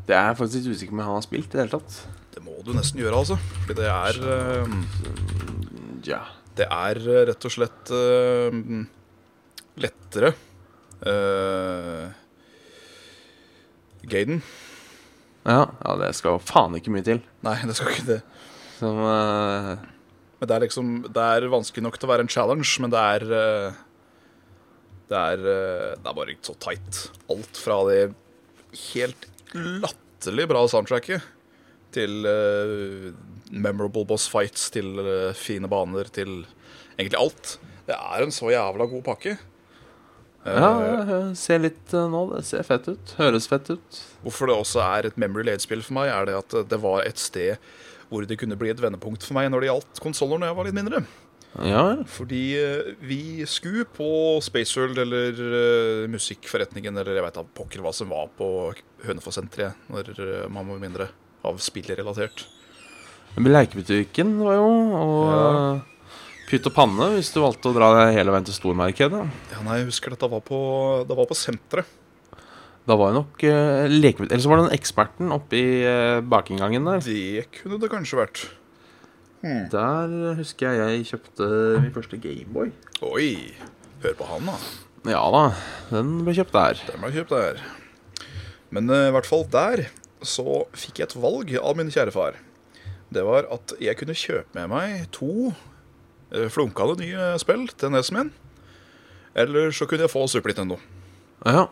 S1: Det er jeg faktisk litt usikker på om jeg har spilt i det hele tatt.
S2: Det må du nesten gjøre, altså. Fordi det er eh,
S1: Ja.
S2: Det er eh, rett og slett eh, lettere. Uh, Gaden?
S1: Ja, ja, det skal faen ikke mye til.
S2: Nei, det skal ikke det.
S1: Som eh,
S2: Men det er liksom Det er vanskelig nok til å være en challenge, men det er eh, Det er, eh, det er bare så tight. Alt fra det helt latterlig bra soundtracket til eh, memorable boss fights, til eh, fine baner, til egentlig alt. Det er en så jævla god pakke. Eh,
S1: Ja, det ser litt eh, nå. Det ser fett ut. Høres fett ut.
S2: Hvorfor det også er et memory late-spill for meg, er det at det var et sted hvor det kunne bli et vendepunkt for meg når det gjaldt konsoller når jeg var litt mindre.
S1: Ja,
S2: Fordi eh, vi skulle på Spaceworld eller eh, Musikkforretningen eller jeg veit da pokker hva som var på Hønefoss-senteret når eh, man var mindre. Av spillrelatert.
S1: men Lekebutikken var jo Og
S2: Ja.
S1: eh, pytt og panne hvis du valgte å dra deg hele veien til stormarkedet.
S2: Ja, nei, jeg husker dette var på, det var på senteret.
S1: Da var jo nok uh, lekebutikk Eller så var det den eksperten oppe i eh, bakinngangen der.
S2: Det kunne det kanskje vært.
S1: Der husker jeg jeg kjøpte min første Gameboy.
S2: Oi! Hør på han, da.
S1: Ja da, den ble kjøpt der.
S2: Den var kjøpt der. Men eh, i hvert fall der så fikk jeg et valg av min kjære far. Det var at jeg kunne kjøpe med meg to eh, flunka det nye spill til nesen min. Eller så kunne jeg få Super Nintendo.
S1: Ja,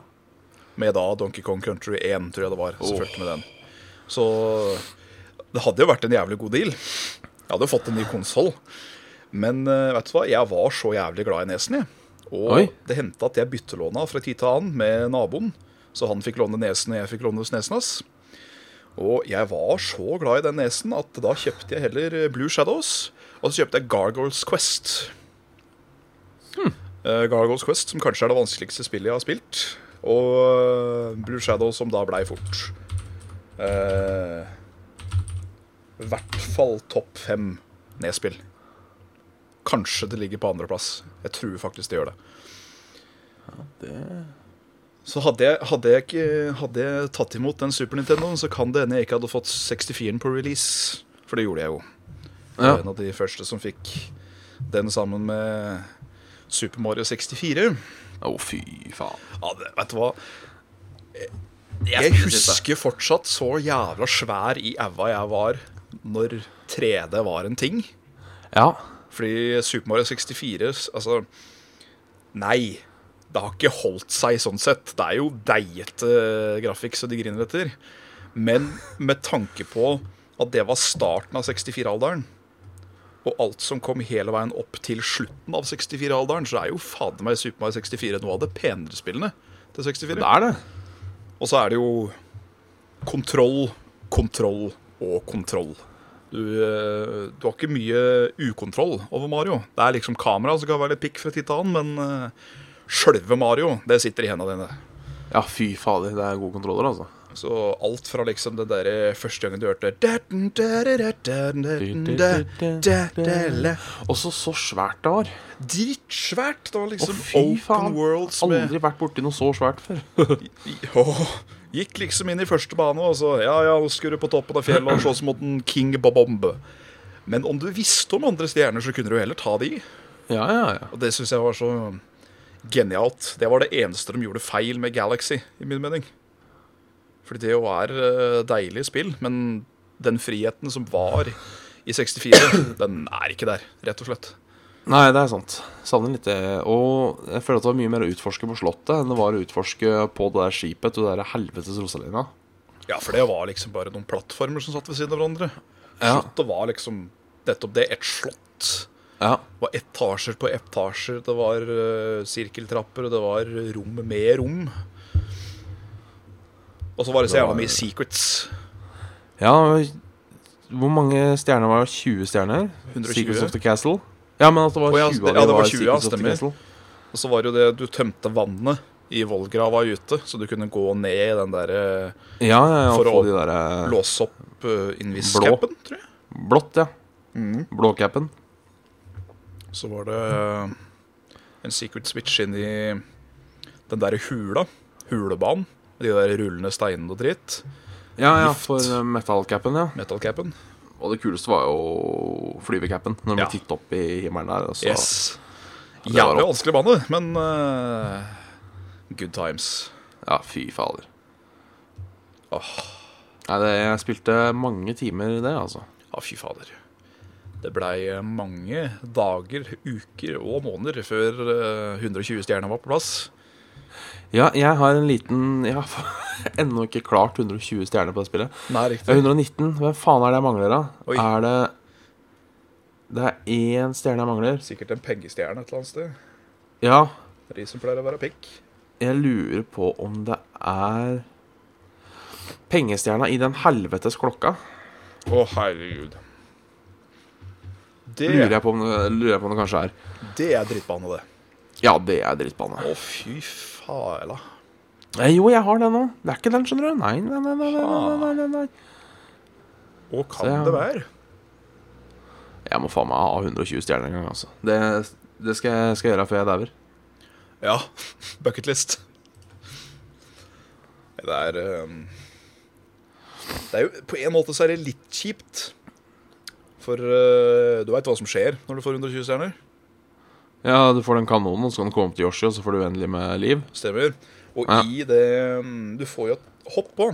S2: Med da Donkey Kong Country 1, tror jeg det var. Så fulgte med den. Så det hadde jo vært en jævlig god deal. Jeg hadde jo fått en ny konsoll. Men eh, vet du hva, jeg var så jævlig glad i nesen, jeg. Og
S1: Oi.
S2: det hendte at jeg byttelåna fra tid til annen med naboen. Så han fikk låne nesen, og jeg fikk låne nesen hans. Og jeg var så glad i den nesen at da kjøpte jeg heller eh, Blue Shadows. Og så kjøpte jeg Gargoyles Quest. Eh, Gargoyles Quest, som kanskje er det vanskeligste spillet jeg har spilt. Og eh, Blue Shadow, som da blei fort. Eh, I hvert fall topp fem nedspill. Kanskje det ligger på andreplass. Jeg tror faktisk det gjør det.
S1: det
S2: Så hadde jeg, hadde jeg, ikke, hadde jeg tatt imot den Super Nintendoen, så kan det hende jeg ikke hadde fått 64-en på release. For det gjorde jeg jo. Jeg
S1: Ja.
S2: var En av de første som fikk den sammen med Super Mario 64.
S1: Å, fy faen.
S2: Ja, det, vet du hva? Jeg husker fortsatt så jævla svær i æva jeg var når 3D var en ting.
S1: Ja.
S2: Fordi Super Mario 64 Altså, nei. Det har ikke holdt seg sånn sett. Det er jo deigete grafikk så de griner etter. Men med tanke på at det var starten av 64-alderen, og alt som kom hele veien opp til slutten av 64-alderen, så er jo fader meg Super Mario 64 noe av det penere spillene til 64.
S1: Det er det.
S2: Og så er det jo kontroll, kontroll og kontroll. Du, eh, du har ikke mye ukontroll over Mario. Det er liksom kamera som kan være litt pikk fra tid til annen, men eh, sjølve Mario, det sitter i hendene dine.
S1: Ja, fy fader. Det er gode kontroller, altså.
S2: Så alt fra liksom det derre første gangen du hørte Dritsvært.
S1: Og så så svært det var.
S2: Det var
S1: Å,
S2: liksom
S1: fy faen.
S2: open worlds med
S1: Aldri vært borti noe så svært før.
S2: Åh, Gikk liksom inn i første bane og så Ja, ja, nå skulle du på toppen av fjellet og slåss mot en King Bobombe. Men om du visste om andre stjerner, så kunne du jo heller ta de.
S1: Ja, ja, ja.
S2: Og det syns jeg var så genialt. Det var det eneste de gjorde feil med Galaxy, i min mening. Fordi det jo er eh, deilige spill, men den friheten som var i 64, den er ikke der, rett og slett.
S1: Nei, det er sant. Savner litt det. Og jeg føler at det var mye mer å utforske på Slottet enn det var å utforske på det der skipet til det der helvetes Rosalina.
S2: Ja, for det var liksom bare noen plattformer som satt ved siden av hverandre.
S1: Ja.
S2: Slottet var liksom nettopp det, et slott.
S1: Ja.
S2: Det var etasjer på etasjer, det var eh, sirkeltrapper, og det var rom med rom. Og så var det så
S1: Det var-
S2: jævla mye secrets.
S1: ja hvor mange stjerner var det? 20 stjerner?
S2: 120.
S1: Secrets of the Castle? Ja, men at det var
S2: Å,
S1: 20 av
S2: ja,
S1: dem
S2: ja, det var
S1: var
S2: 20, ja,
S1: Secrets of the
S2: stemmer.
S1: Castle.
S2: Og så var det jo det du tømte vannet i vollgrava ute, så du kunne gå ned i den der eh,
S1: Ja, ja, ja.
S2: For
S1: For
S2: å
S1: å få de der eh,
S2: låse opp uh, invis-capen, tror jeg.
S1: Blått, ja. Blåcapen.
S2: Så var det eh, en secret switch inn i den derre hula. Hulebanen. De der rullende steinene og dritt.
S1: Ja, ja,
S2: Luft.
S1: for eh, metallcapen, ja.
S2: Metal-capen.
S1: Og det kuleste var jo flyvecapen, når man
S2: Ja.
S1: tittet opp i himmelen der. altså. og Så,
S2: Yes.
S1: det var
S2: Jævlig vanskelig bane, men eh, good times.
S1: Ja, fy fader.
S2: Åh,
S1: Nei, det, jeg spilte mange timer i det, altså.
S2: ja, fy fader. Det blei eh, mange dager, uker og måneder før eh, 120 stjerner var på plass.
S1: Ja, jeg har en liten Jeg har ennå ikke klart 120 stjerner på det spillet.
S2: Nei,
S1: Jeg er 119. Hvem faen er det jeg mangler, da?
S2: Oi.
S1: Er det Det er én stjerne jeg mangler.
S2: Sikkert en pengestjerne et eller annet sted.
S1: Ja,
S2: Det er de som pleier å være pikk.
S1: jeg lurer på om det er Pengestjerna i den helvetes klokka.
S2: Å, herregud. Det,
S1: Lurer jeg, på om det, lurer jeg på om det kanskje er.
S2: det er drittbane, det.
S1: Ja, det er drittbane.
S2: Å, fy faela.
S1: Nei, Eh, jo, jeg har den nå. Det er ikke den, skjønner du. Nei, nei, nei, nei, nei, nei, nei, nei, nei.
S2: Og kan
S1: Se, ja.
S2: det være?
S1: Jeg må faen meg ha 120 stjerner en gang, altså. Det, det skal, jeg, skal jeg gjøre før jeg dauer.
S2: Ja. Bucketlist. Det er ehm, Det er jo På en måte så er det litt kjipt. For eh, du veit hva som skjer når du får 120 stjerner.
S1: Ja, du får den kanonen, og så kan du komme opp til Yoshi, og så får du uendelig med liv.
S2: Stemmer. Og
S1: Ja.
S2: i det ehm, Du får jo et hopp på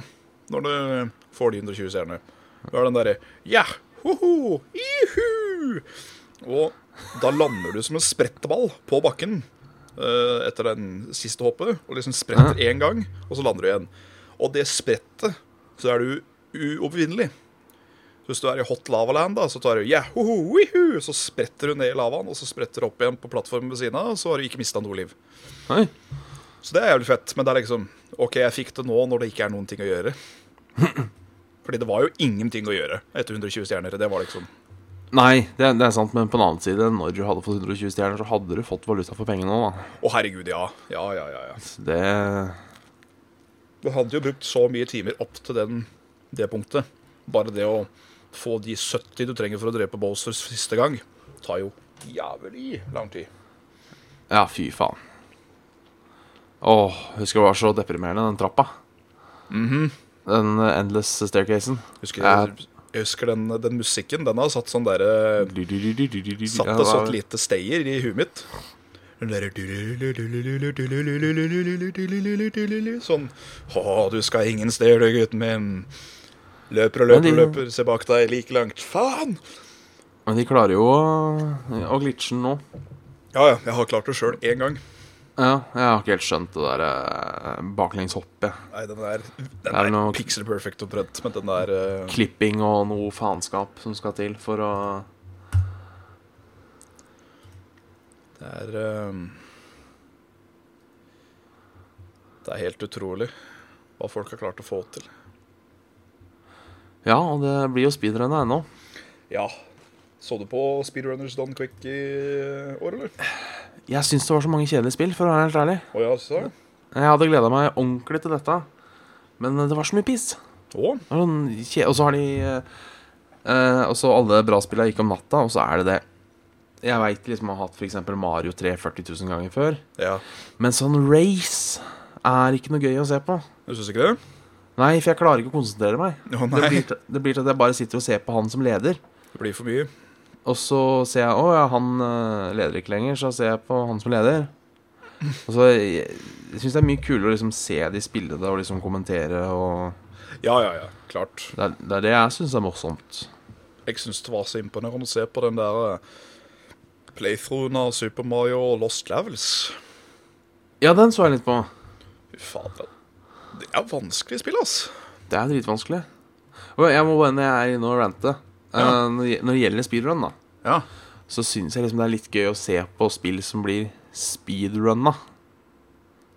S2: når du får de 120 stjernene. Du har den derre Ja! Hoho! Ihu! Og da lander du som en sprettball på bakken eh, etter den siste hoppet. Og liksom spretter én gang, og så lander du igjen. Og det sprettet, så er du uovervinnelig. Så hvis du er i hot lava-land, da, så tar du yahoo, wihu, så spretter du ned i lavaen, og så spretter du opp igjen på plattformen ved siden av, og så har du ikke mista noe liv.
S1: Oi.
S2: Så det er jævlig fett, men det er liksom OK, jeg fikk det nå når det ikke er noen ting å gjøre. Fordi det var jo ingenting å gjøre etter 120 stjerner. Det var liksom
S1: Nei, det, er- det er sant, men på den annen side, når du hadde fått 120 stjerner, så hadde du fått valuta for pengene òg, da.
S2: Å, herregud, ja. Ja, ja, ja. ja.
S1: Så Det
S2: Du hadde jo brukt så mye timer opp til den, det punktet. Bare det å få de 70 du trenger for å drepe Bowser siste gang, tar jo jævlig lang tid.
S1: Ja, fy faen. Åh, husker det var så deprimerende, den trappa.
S2: Mhm.
S1: Den eh, endless staircasen.
S2: Husker jeg, jeg husker den, den musikken. Den har satt sånn derre Satt
S1: Satte
S2: det så et lite stayer i huet mitt. Den derre Sånn Å, du skal ingen steder, du, gutten min. Løper og løper og løper, ser bak deg like langt. Faen!
S1: Men de klarer jo å, å glitche den nå.
S2: Ja, ja, jeg har klart det sjøl én gang.
S1: Ja, jeg har ikke helt skjønt det der eh, baklengshoppet.
S2: Nei, den er, den
S1: Er det
S2: er
S1: noe-
S2: pixel perfect omtrent, men den er eh,
S1: Klipping og noe faenskap som skal til for å
S2: Det er eh, Det er helt utrolig hva folk har klart å få til.
S1: Ja, og det blir jo speedrunner ennå.
S2: Ja. Så du på Speedrunners Don Quick i eh, år, eller?
S1: Jeg syns det var så mange kjedelige spill, for å være helt ærlig.
S2: Å ja, så sa jeg.
S1: Jeg hadde gleda meg ordentlig til dette, men det var så mye piss.
S2: Å,
S1: Det var sånn kje- Og så har de eh, eh, Og så alle bra spillene gikk om natta, og så er det det. Jeg veit liksom jeg har hatt f.eks. Mario 3 40 000 ganger før,
S2: Ja.
S1: men sånn race er ikke noe gøy å se på.
S2: Du syns ikke det?
S1: Nei, for jeg klarer ikke å konsentrere meg.
S2: Å
S1: Det
S2: nei.
S1: blir, til, det blir til at jeg bare sitter og ser på han som leder.
S2: Det blir for mye.
S1: Og så ser jeg å ja, han eh, leder ikke lenger, så ser jeg på han som leder. Og så Jeg, jeg syns det er mye kulere å liksom se de spille det og liksom kommentere og
S2: Ja, ja, ja. Klart.
S1: Det er det, er det jeg syns er morsomt.
S2: Jeg syns det var så imponerende å se på den der eh, playthroughen av Super Mario Lost Levels.
S1: Ja, den så jeg litt på.
S2: Fy fader. Det er vanskelig spill, ass.
S1: Det er dritvanskelig. Og jeg må bare når jeg er inne og rante eh,
S2: Ja.
S1: når, det- når det gjelder speedrun, da,
S2: Ja.
S1: så syns jeg liksom det er litt gøy å se på spill som blir speedrunna.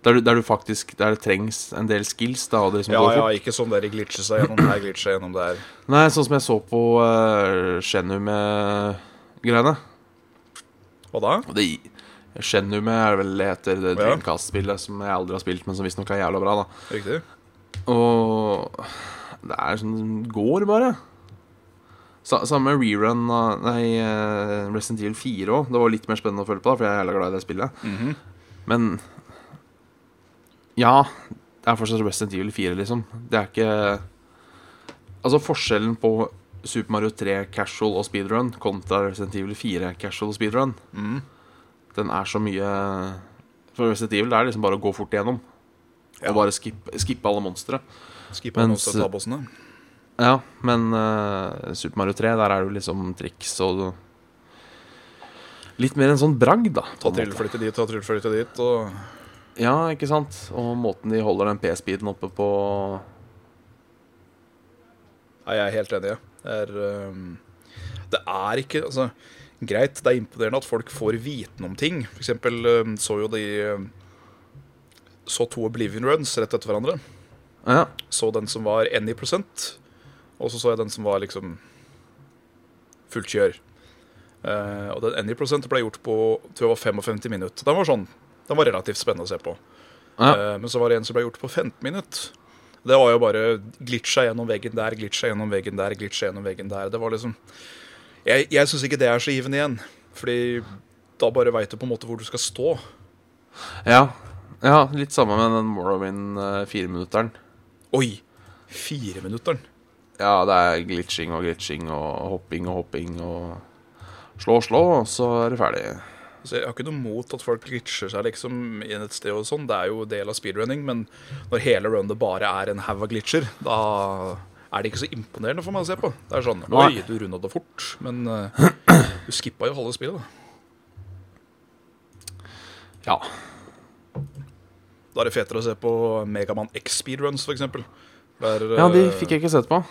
S1: Der du, der du faktisk Der det trengs en del skills, da, og det liksom
S2: Ja,
S1: går fort.
S2: ja, ikke sånn der de glitcher seg gjennom der, glitcher seg gjennom der.
S1: Nei, sånn som jeg så på uh, Genume-greiene.
S2: Hva da?
S1: Og det Genume er vel det heter det
S2: Ja.
S1: Dreamcast-spillet som jeg aldri har spilt, men som visstnok er jævla bra, da.
S2: Riktig?
S1: Og det er sånn som går, bare. Sa, samme rerun av Nei, eh, Resident Evil 4 òg. Det var litt mer spennende å følge på, da, for jeg er jævla glad i det spillet.
S2: Mhm.
S1: Men ja, det er fortsatt Resident Evil 4, liksom. Det er ikke Altså, forskjellen på Super Mario 3 casual og speedrun kontra Resident Evil 4 casual og speedrun,
S2: Mhm.
S1: den er så mye For Resident Evil det er liksom bare å gå fort igjennom.
S2: Ja.
S1: Og bare skippe, skippe alle monstre.
S2: Skippa noen
S1: Mens-
S2: av tabossene.
S1: Ja, men eh, Super Mario 3, der er det jo liksom triks og Litt mer en sånn bragd, da. på
S2: Ta
S1: en måte.
S2: trillefløyte dit, ta trillefløyte dit, og
S1: Ja, ikke sant? Og måten de holder den P-speeden oppe på
S2: Nei, jeg er helt enig. jeg. Det er, ehm, det er ikke altså, Greit, det er imponerende at folk får viten om ting. For eksempel ehm, så jo de ehm, Så to Oblivion Runs rett etter hverandre.
S1: Ja,
S2: Så den som var any prosent, og så så jeg den som var liksom fullt kjør. Eh, og den any prosent ble gjort på tror jeg var 55 minutter. Den var sånn, den var relativt spennende å se på.
S1: Ja.
S2: Eh, men så var det en som ble gjort på 15 minutter. Det var jo bare glitcha gjennom veggen der, glitcha gjennom veggen der, glitcha gjennom veggen der. Det var liksom Jeg, jeg syns ikke det er så givende igjen. Fordi da bare veit du på en måte hvor du skal stå.
S1: ja, ja litt samme med den eh, Morrowind-fireminutteren.
S2: Oi! Fireminutteren.
S1: Ja, det er glitching og glitching og hopping og hopping og Slå og slå, og så er det ferdig.
S2: Altså, jeg har ikke noe mot at folk glitcher seg liksom i et sted og sånn, det er jo del av speedrunning, men når hele runnet bare er en haug av glitcher, da er det ikke så imponerende for meg å se på. Det er sånn
S1: Nei.
S2: Oi, du runda det fort, men eh, du skippa jo halve spillet, da.
S1: Ja.
S2: Da er det fetere å se på Megaman X speedruns, f.eks. Der,
S1: ja, de
S2: eh,
S1: fikk jeg ikke sett på.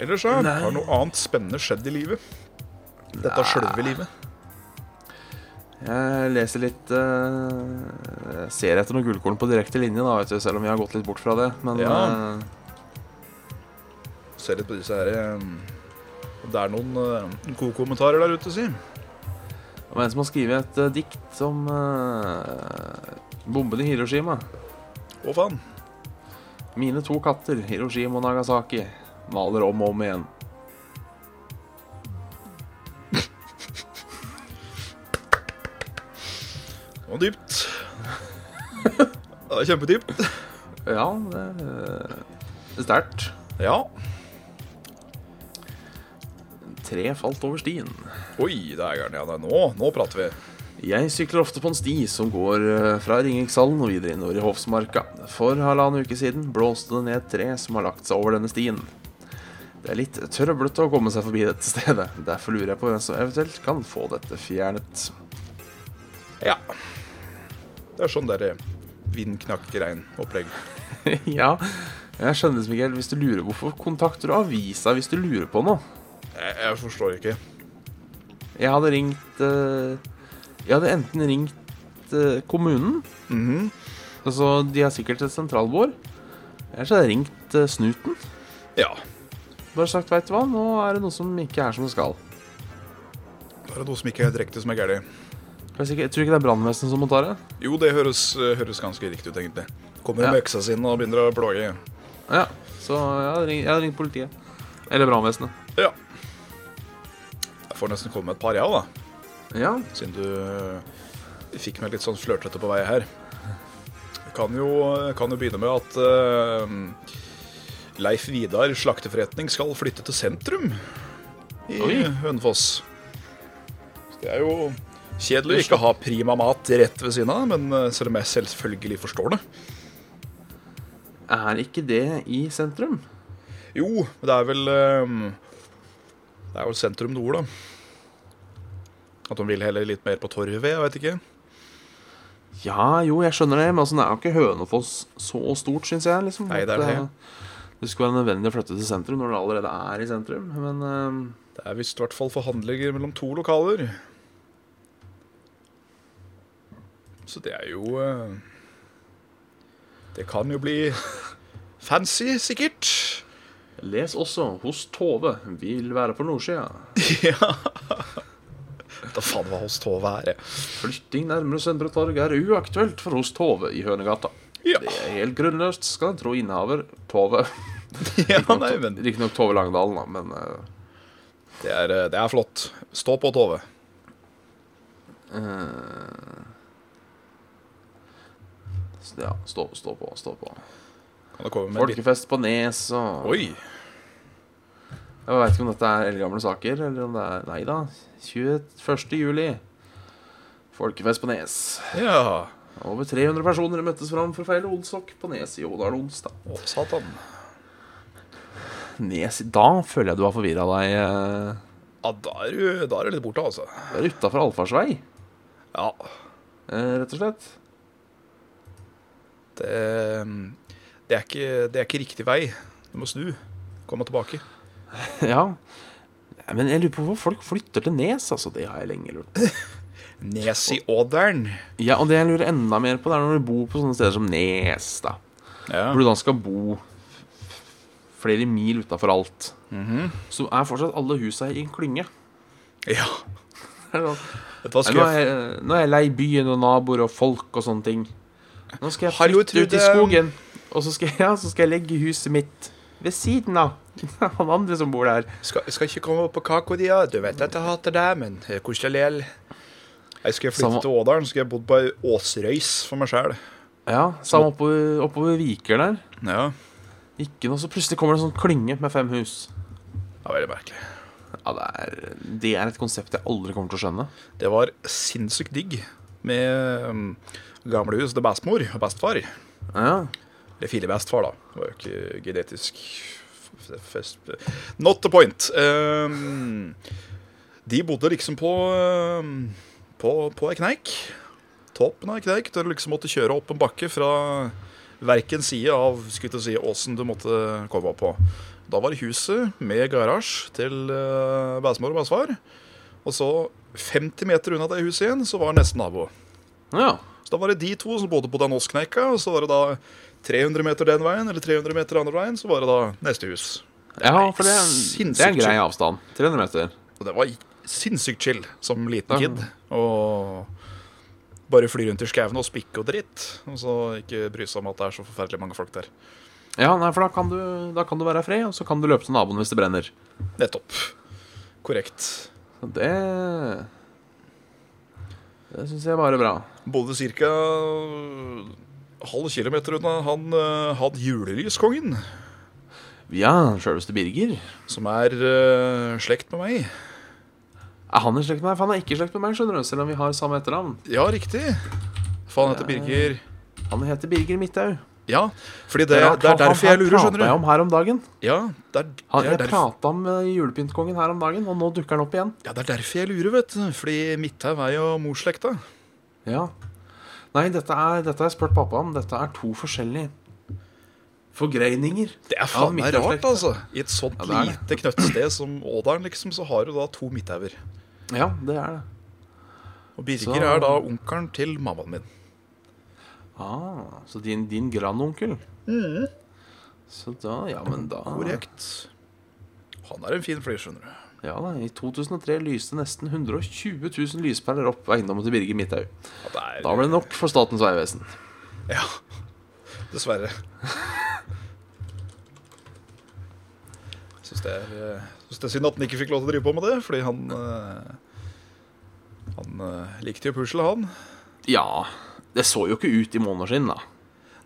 S2: Ellers så
S1: Nei.
S2: har noe annet spennende skjedd i livet. Dette sjølve livet.
S1: Jeg leser litt eh, jeg Ser etter noen gullkorn på direkte linje, da, vet du, selv om jeg har gått litt bort fra det. Men
S2: Ja.
S1: eh,
S2: Se litt på disse her eh, Det er noen eh, gode kommentarer der ute, si.
S1: det var en som har skrevet et eh, dikt om uh, bomben i Hiroshima.
S2: Å, faen.
S1: Mine to katter, Hiroshima og Nagasaki, maler om og om igjen.
S2: Det var dypt. Det er kjempedypt.
S1: Ja, det eh, det er sterkt.
S2: Ja.
S1: Tre falt over stien.
S2: Oi, det er gærent. Ja, nei, nå, nå prater vi.
S1: Jeg sykler ofte på en sti som går eh, fra Ringerikshallen og videre innover i Hofsmarka. For halvannen uke siden blåste det ned et tre som har lagt seg over denne stien. Det er litt trøblete å komme seg forbi dette stedet. Derfor lurer jeg på hvem som eventuelt kan få dette fjernet.
S2: Ja. Det er sånn derre vindknakkregn-opplegg.
S1: ja, jeg skjønner liksom ikke helt hvis du lurer Hvorfor kontakter du avisa hvis du lurer på noe?
S2: Jeg, jeg forstår ikke.
S1: Jeg hadde ringt eh, Jeg hadde enten ringt eh, kommunen
S2: Mhm.
S1: Altså, de har sikkert et sentralbord Eller så hadde jeg ringt eh, snuten
S2: Ja.
S1: Bare sagt, vet du hva, nå er det noe som ikke er som det skal
S2: Det er det noe som ikke er helt riktig, som er gærent.
S1: Jeg er sikker- jeg tror ikke det er brannvesenet som må ta det
S2: Jo, det høres, eh, høres ganske riktig ut, egentlig. Kommer
S1: Ja.
S2: med øksa si og begynner å plage.
S1: Ja, så jeg hadde ringt, jeg hadde ringt politiet Eller brannvesenet
S2: Ja. Jeg får nesten komme med et par, ja, da.
S1: Ja,
S2: Siden du eh, fikk meg litt sånn flørtete på vei her. Jeg kan jo, kan jo begynne med at eh, Leif Vidar slakteforretning skal flytte til sentrum i
S1: Oi.
S2: Hønefoss. Så det er jo kjedelig å ikke ha prima mat rett ved siden av, men eh, selv om jeg selvfølgelig forstår det.
S1: er ikke det i sentrum?
S2: Jo, men det er vel eh, Det er vel sentrum nord, da. At de vil heller litt mer på torvet, jeg vet ikke.
S1: Ja, jo, jeg skjønner det, men altså, det er jo ikke Hønefoss så stort, syns jeg. Liksom,
S2: Nei, det
S1: At,
S2: er det.
S1: eh, det skulle være nødvendig å flytte til sentrum når det allerede er i sentrum. Men eh,
S2: Det er visst i hvert fall forhandlinger mellom to lokaler. Så det er jo eh, Det kan jo bli fancy, sikkert.
S1: les også hos Tove. Vil være på nordsida.
S2: ja. Da faen hva hos Tove er. jeg.
S1: Flytting nærmere Søndre Torg er uaktuelt for hos Tove i Hønegata.
S2: Ja.
S1: Det er helt grunnløst, skal en tro innehaver Tove.
S2: ja, nei, men
S1: Riktignok Tove Langdalen, da, men eh,
S2: det er, eh, det er flott. Stå på, Tove.
S1: eh, s- Ja, stå, stå på, stå på.
S2: Kan du komme med en liten
S1: Folkefest på Nes og
S2: Oi!
S1: Jeg veit ikke om dette er eldgamle saker, eller om det er Nei da. 21. juli. Folkefest på Nes.
S2: Ja.
S1: Over 300 personer møttes fram for å feire Olsok på Nes i Odal onsdag.
S2: Å, satan.
S1: Nes Da føler jeg du har forvirra deg. eh.
S2: Ja, da er du da er du litt borte, altså.
S1: Det er utafor allfarsvei,
S2: Ja.
S1: eh, rett og slett.
S2: Det, mm, det, er ikke, det er ikke riktig vei. Du må snu. Komme tilbake.
S1: Ja. Nei, Men jeg lurer på hvorfor folk flytter til Nes, altså. Det har jeg lenge lurt på.
S2: Nes i Ådern.
S1: Ja, og det jeg lurer enda mer på, det er når du bor på sånne steder som Nes, da.
S2: Ja.
S1: Hvor du da skal bo flere mil utafor alt.
S2: Mhm.
S1: Så er fortsatt alle husa i en klynge.
S2: ja.
S1: Det er sånn,
S2: Vet du hva
S1: Nei, nå,
S2: skal
S1: er
S2: jeg...
S1: jeg, nå er jeg lei byen og naboer og folk og sånne ting. Nå skal jeg flytte
S2: Hallo,
S1: ut i
S2: Trude.
S1: skogen, og så skal, jeg, ja, så skal jeg legge huset mitt ved siden av han andre som bor der.
S2: Skal, skal ikke komme opp på kakodia. Du vet at jeg hater deg, men det er koselig lell. Jeg skal jeg flytte
S1: Samme-
S2: til Ådalen, skal jeg bodd på ei åsrøys for meg sjæl.
S1: Ja, Samme oppover, oppover Viker der.
S2: Ja.
S1: Ikke noe, så plutselig kommer det en sånn klynge med fem hus.
S2: Det var veldig merkelig.
S1: Ja, Det er, det er et konsept jeg aldri kommer til å skjønne.
S2: Det var sinnssykt digg med um, gamlehus til bestemor og bestefar.
S1: Ja,
S2: Eller filebestefar, da. Det var jo ikke genetisk f- f- fest... Not the point. Ehm, de bodde liksom på ehm, På, på ei kneik. Toppen av ei kneik. Der du liksom måtte kjøre opp en bakke fra verken side av skulle til å si, åsen du måtte komme opp på. Da var det huset med garasje til uh, bestemor og bestefar. Og så 50 meter unna det huset igjen, så var nesten nabo.
S1: ja.
S2: Så da var det de to som bodde på den åskneika, og så var det da 300 meter den veien, eller 300 meter andre veien, så var det da neste hus.
S1: ja for det, er- det er en
S2: Sinnssykt.
S1: grei avstand. 300 meter.
S2: Og det var sinnssykt chill som liten
S1: Ja.
S2: kid. Og bare fly rundt i skauen og spikke og dritt. Og så ikke bry seg om at det er så forferdelig mange folk der.
S1: Ja, nei, for da kan, du, da kan du være i fred, og så kan du løpe til naboen hvis det brenner.
S2: Nettopp. Korrekt.
S1: Så det Det syns jeg bare er bra.
S2: Bodde ca. halv kilometer unna han, eh, han julelyskongen,
S1: Ja, sjølveste Birger.
S2: som er eh, slekt med meg.
S1: Er han i slekt med meg? For han er ikke i slekt med meg, skjønner du, selv om vi har samme etternavn.
S2: Ja, riktig. Faen, han heter Birger.
S1: Han heter Birger Midthaug.
S2: Ja, fordi det, det er
S1: han-
S2: derfor
S1: han
S2: jeg lurer, skjønner
S1: pratet jeg
S2: du.
S1: om her om dagen.
S2: Ja, det er,
S1: Han,
S2: det, er
S1: jeg
S2: derf,
S1: prata om eh, julepyntkongen her om dagen, og nå dukker han opp igjen.
S2: ja, det er derfor jeg lurer, vet du. Fordi Midthaug er jo morsslekta.
S1: Ja. Nei, dette er Dette har jeg spurt pappa om. Dette er to forskjellige forgreininger.
S2: Det er
S1: Ja,
S2: faen meg
S1: Midthaug-slekta.
S2: rart, altså. I et sånt
S1: Ja, det er det.
S2: lite knøttsted som Ådalen, liksom, så har du da to Midthauger.
S1: Ja, det er det.
S2: Og Birger
S1: Så-
S2: er da onkelen til mammaen min.
S1: Ah, så din, din grandonkel. Så da Ja, men da
S2: Korrekt. Han er en fin fyr, skjønner du.
S1: Ja da, I 2003 lyste nesten 120 000 lyspærer opp eiendommen til Birger Midthaug.
S2: Ja, det er,
S1: Da ble det nok for Statens vegvesen.
S2: Ja. Dessverre. Syns det, er, eh, synes det er synd at han ikke fikk lov til å drive på med det, fordi han eh, Han eh, likte jo pusle, han.
S1: Ja, det så jo ikke ut i måneskinn, da.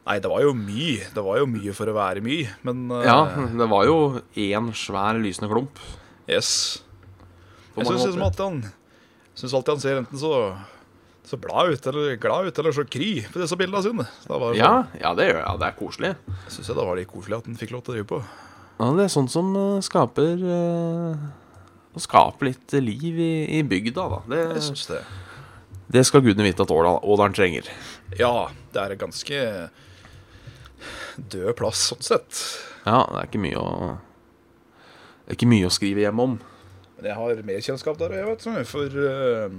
S2: Nei, det var jo mye. Det var jo mye for å være mye, men eh,
S1: Ja, det var jo én svær lysende klump.
S2: yes.
S1: på
S2: Jeg
S1: mange
S2: syns liksom
S1: måter.
S2: alltid han synes alltid han ser enten så så blad ut eller glad ut eller så kry på disse bildene sine. Så da var det
S1: ja,
S2: sånn,
S1: ja, det gjør jeg. Det er koselig.
S2: synes jeg da var litt koselig at han fikk lov til å drive på.
S1: Ja, det er sånt som eh, skaper eh, å skape litt liv i, i bygda, da.
S2: Jeg
S1: Det,
S2: syns det.
S1: det skal gudene vite at Åla- Ådalen trenger.
S2: Ja, det er en ganske død plass, sånn sett.
S1: Ja, det er ikke mye å Det er ikke mye å skrive hjem om.
S2: Men jeg har mer kjennskap der, jeg vet, for eh,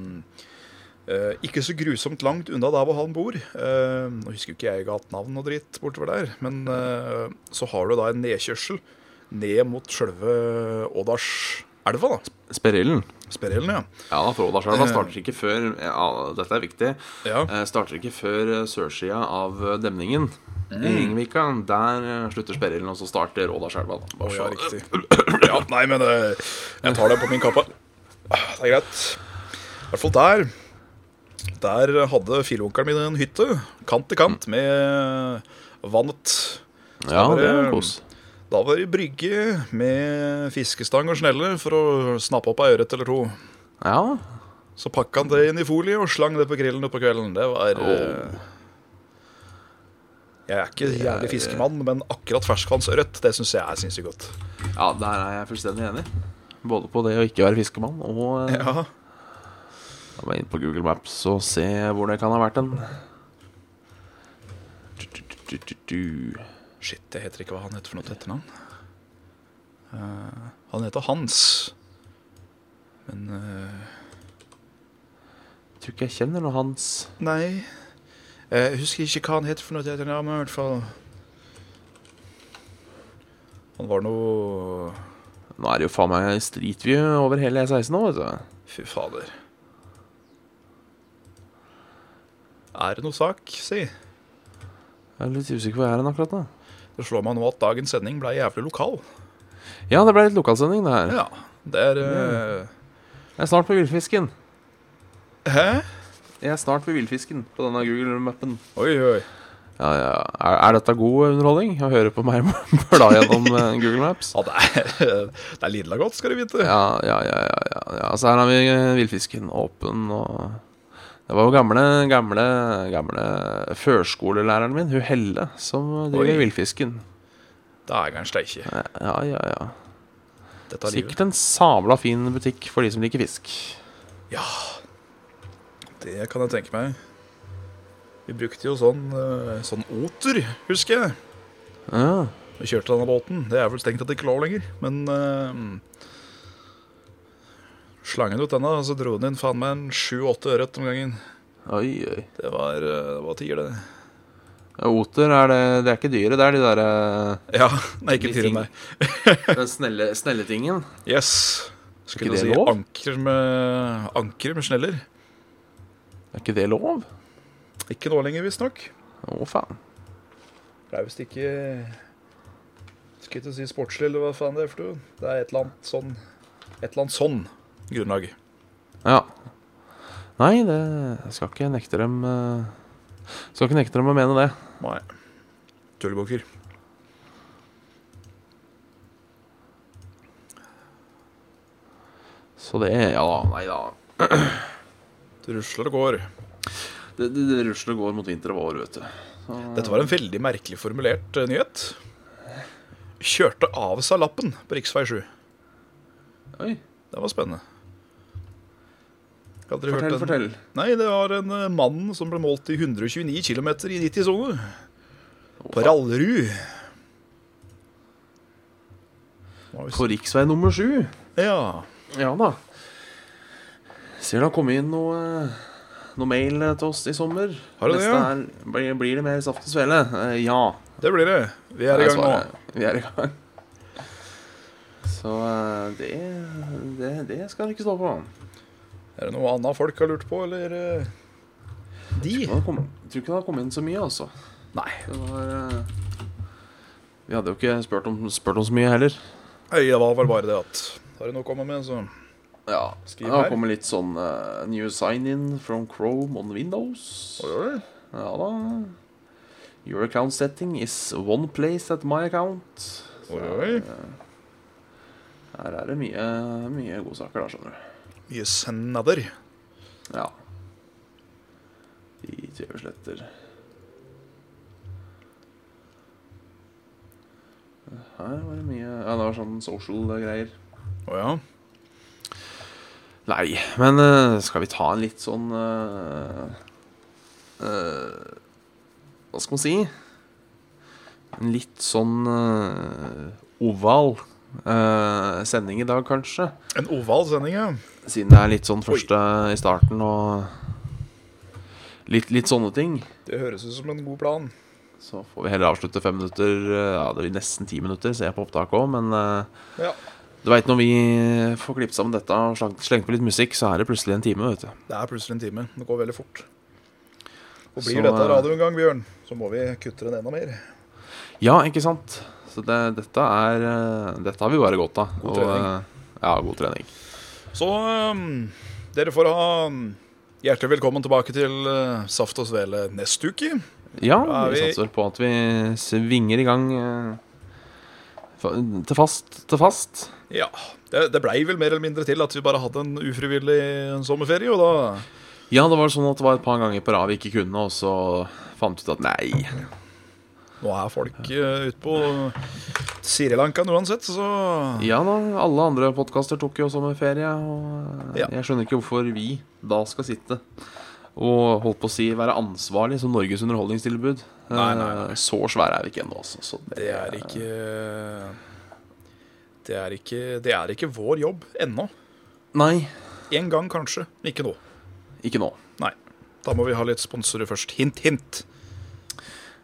S2: eh, ikke så grusomt langt unna der hvor han bor. eh, nå husker jo ikke jeg gatenavn og dritt bortover der, men eh, så har du da en nedkjørsel ned mot sjølve Ådalselva, da.
S1: Sperrillen.
S2: Sperrelen, ja.
S1: Ja, for
S2: Eh.
S1: Ådalselva starter ikke før ja, Dette er viktig.
S2: ja.
S1: eh, Starter ikke før eh, sørsida av eh, demningen.
S2: Mm.
S1: I Ringvika, der eh, slutter Sperrillen, og så starter Ådalselva. da. Bare
S2: Å, ja,
S1: så-
S2: riktig. Ja, nei, men eh, jeg tar det på min kappe. Ah, Det er greit. I hvert fall der. Der hadde filonkelen min en hytte, kant til kant, med vannet.
S1: Ja, det er kos.
S2: Da var det brygge med fiskestang og snelle for å snappe opp ei ørret eller to.
S1: Ja,
S2: Så pakka han det inn i folie og slang det på grillen utpå kvelden. Det var eh, Jeg er eh, ikke jævlig fiskemann, men akkurat ferskvannsørret, det syns jeg er sinnssykt godt.
S1: ja, der er jeg fullstendig enig. Både på det å ikke være fiskemann, og eh,
S2: Ja.
S1: Da må jeg inn på Google Maps og se hvor det kan ha vært en.
S2: Shit, jeg heter ikke hva han heter for noe til etternavn. Eh, han heter Hans. Men eh,
S1: Tror ikke jeg kjenner noe hans.
S2: Nei. Eh, Jeg husker ikke hva han heter for noe til etternavn, men i hvert fall Han var noe
S1: Nå er det jo faen meg Street View over hele E16 nå, vet du.
S2: Fy fader. Er det noe sak, si?
S1: Jeg er litt usikker på hvor jeg er hen akkurat nå.
S2: Det slår meg nå at dagens sending ble jævlig lokal.
S1: Ja, det ble litt lokalsending, det her.
S2: Ja, det er eh,
S1: Jeg er snart på villfisken.
S2: Hæ?
S1: Jeg er snart på villfisken på denne Google-mappen.
S2: Oi, oi.
S1: Ja, ja. Er, er dette god underholdning? Å høre på meg bla gjennom eh, Google Maps?
S2: Ja, det er, det er lidla godt, skal du vite.
S1: Ja, ja, ja, ja, ja, ja. Så her har vi eh, villfisken åpen og Det var jo gamle, gamle, gamle førskolelæreren min, hun Helle, som driver
S2: Oi.
S1: villfisken.
S2: Dægeren steike.
S1: Ja, ja, ja.
S2: Dette er livet.
S1: Sikkert en sabla fin butikk for de som liker fisk.
S2: Ja, det kan jeg tenke meg. Vi brukte jo sånn, eh, sånn oter, husker jeg.
S1: Ja,
S2: Vi kjørte denne båten. Det er vel strengt tatt ikke lov lenger, men eh, Slangen ut denne, så dro den inn faen meg en sju-åtte ørret om gangen.
S1: oi, oi.
S2: Det var, eh, det var tier, det.
S1: Ja, Oter er det Det er ikke dyret, det er de eh, derre
S2: Ja, nei, ikke
S1: De
S2: tier,
S1: ting-
S2: nei.
S1: Den snelle, snelle tingen.
S2: Yes.
S1: ikke
S2: Skulle
S1: det
S2: si
S1: lov?
S2: anker med, anker med sneller.
S1: Er ikke det lov?
S2: Ikke nå lenger, visstnok.
S1: Å, faen.
S2: Det er visst ikke Skal ikke si sportslig, eller hva faen det er for noe. Det er et eller annet sånn Et eller annet sånn grunnlag.
S1: Ja. Nei, det jeg skal ikke nekte dem eh, Skal ikke nekte dem å mene det.
S2: Nei. Tullebukker.
S1: Så det Ja, nei da.
S2: Det rusler og går.
S1: Det, det, det rusler og går mot vinter og vår, vet du.
S2: Dette var en veldig merkelig formulert eh, nyhet. Kjørte av seg lappen på rv. 7.
S1: Oi,
S2: Det var spennende. Hadde dere hørt
S1: fortell,
S2: den?
S1: fortell.
S2: Nei, det var en eh, mann som ble målt i 129 km i 90-sone. På Rallerud. Det var visst-
S1: På riksvei nummer sju.
S2: Ja.
S1: Ja da. Ser det har kommet inn noe, noe mail til oss i sommer.
S2: Har det det,
S1: Neste
S2: ja?
S1: er, blir, blir det mer saft og svele? Eh, ja.
S2: Det blir det. Vi er i
S1: er
S2: gang nå.
S1: svaret. Vi er i gang. Så eh, det, det, det skal det ikke stå på.
S2: Er det noe annet folk har lurt på, eller eh, De?
S1: Jeg tror ikke det har kommet- jeg tror ikke det har kommet inn så mye, altså.
S2: Nei.
S1: Det var eh, Vi hadde jo ikke spurt om, spurt om så mye heller.
S2: Nei, Det var vel bare det at Har du noe å komme med, så
S1: Ja.
S2: skriv
S1: Det har
S2: her.
S1: kommet litt sånn eh, New sign-in from Chrome on Windows. Ja da. Your account setting is one place at my account. eh,
S2: Oi, oi.
S1: Her er det mye, mye godsaker, da, skjønner du.
S2: Mye sennader.
S1: Ja. I TV-sletter. Her var det mye Ja, det var sånn social-greier.
S2: Å ja.
S1: Nei, men eh, skal vi ta en litt sånn eh, eh, Hva skal man si? En litt sånn eh, oval eh, sending i dag, kanskje.
S2: En oval sending, ja.
S1: Siden det er litt sånn første i starten og litt, litt sånne ting.
S2: Det høres ut som en god plan.
S1: Så får vi heller avslutte fem minutter. eh, Ja, det blir nesten ti minutter, ser jeg på opptaket òg, men eh,
S2: Ja,
S1: du veit når vi får klippet sammen dette og slengt- slengt på litt musikk, så er det plutselig en time, vet du.
S2: Det er plutselig en time. Det går veldig fort. Og blir
S1: Så,
S2: dette
S1: eh,
S2: radioengang, Bjørn, så må vi kutte den enda mer.
S1: Ja, ikke sant? Så det, dette er eh, Dette har vi bare godt av.
S2: God trening.
S1: eh, ja, god trening.
S2: Så ehm, dere får ha ehm, hjertelig velkommen tilbake til eh, Saft og Svele neste uke.
S1: Ja,
S2: Da er
S1: vi
S2: vi-
S1: satser på at vi svinger i gang eh, fa- til fast til fast.
S2: Ja, det, det blei vel mer eller mindre til at vi bare hadde en ufrivillig sommerferie, og da
S1: Ja, det var sånn at det var et par ganger på rad vi ikke kunne, og så fant vi ut at nei.
S2: Nå er folk eh, ute på Sri Lanka uansett, så
S1: Ja da, alle andre podkaster tok jo sommerferie, og eh,
S2: Ja.
S1: jeg skjønner ikke hvorfor vi da skal sitte og holdt på å si være ansvarlig som Norges underholdningstilbud.
S2: Nei, nei, nei.
S1: Eh, Så svære er vi ikke ennå, altså. Så det,
S2: Det er ikke Det er ikke, det er ikke vår jobb ennå.
S1: Nei,
S2: En gang kanskje, men ikke nå.
S1: ikke nå.
S2: Nei. Da må vi ha litt sponsorer først. Hint, hint.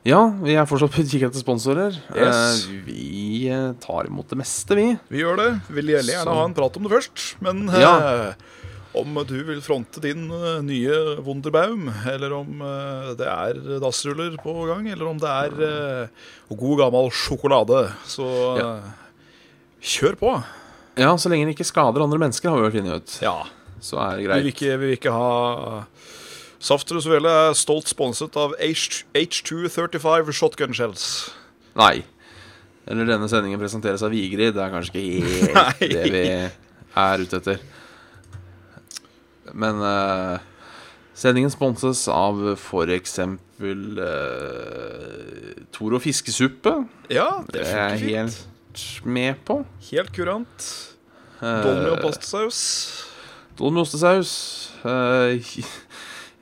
S1: Ja, vi er fortsatt på utkikk etter sponsorer.
S2: Yes.
S1: Eh, vi eh, tar imot det meste, vi.
S2: Vi gjør det. Vil gjerne
S1: Så-
S2: gjerne ha en prat om det først, men
S1: Ja.
S2: eh, om du vil fronte din eh, nye Wunderbaum, eller om eh, det er dassruller på gang, eller om det er eh, god gammel sjokolade, så
S1: Ja.
S2: eh, kjør på.
S1: Ja, Så lenge det ikke skader andre mennesker, har vi vel funnet ut.
S2: Ja.
S1: Så er det
S2: Vi vil
S1: greit.
S2: ikke, vi vil ikke ha Saft Rosvele er stolt sponset av H- H235 Shotgun Shells.
S1: Nei. Eller denne sendingen presenteres av Vigrid. Det er kanskje ikke helt
S2: Nei.
S1: det vi er ute etter. Men eh, sendingen sponses av f.eks. Uh, Toro fiskesuppe.
S2: Ja,
S1: Det
S2: det
S1: er
S2: funker
S1: jeg
S2: fint.
S1: helt med på.
S2: Helt kurant.
S1: Uh,
S2: Dolmy og pastasaus.
S1: Don med ostesaus. eh,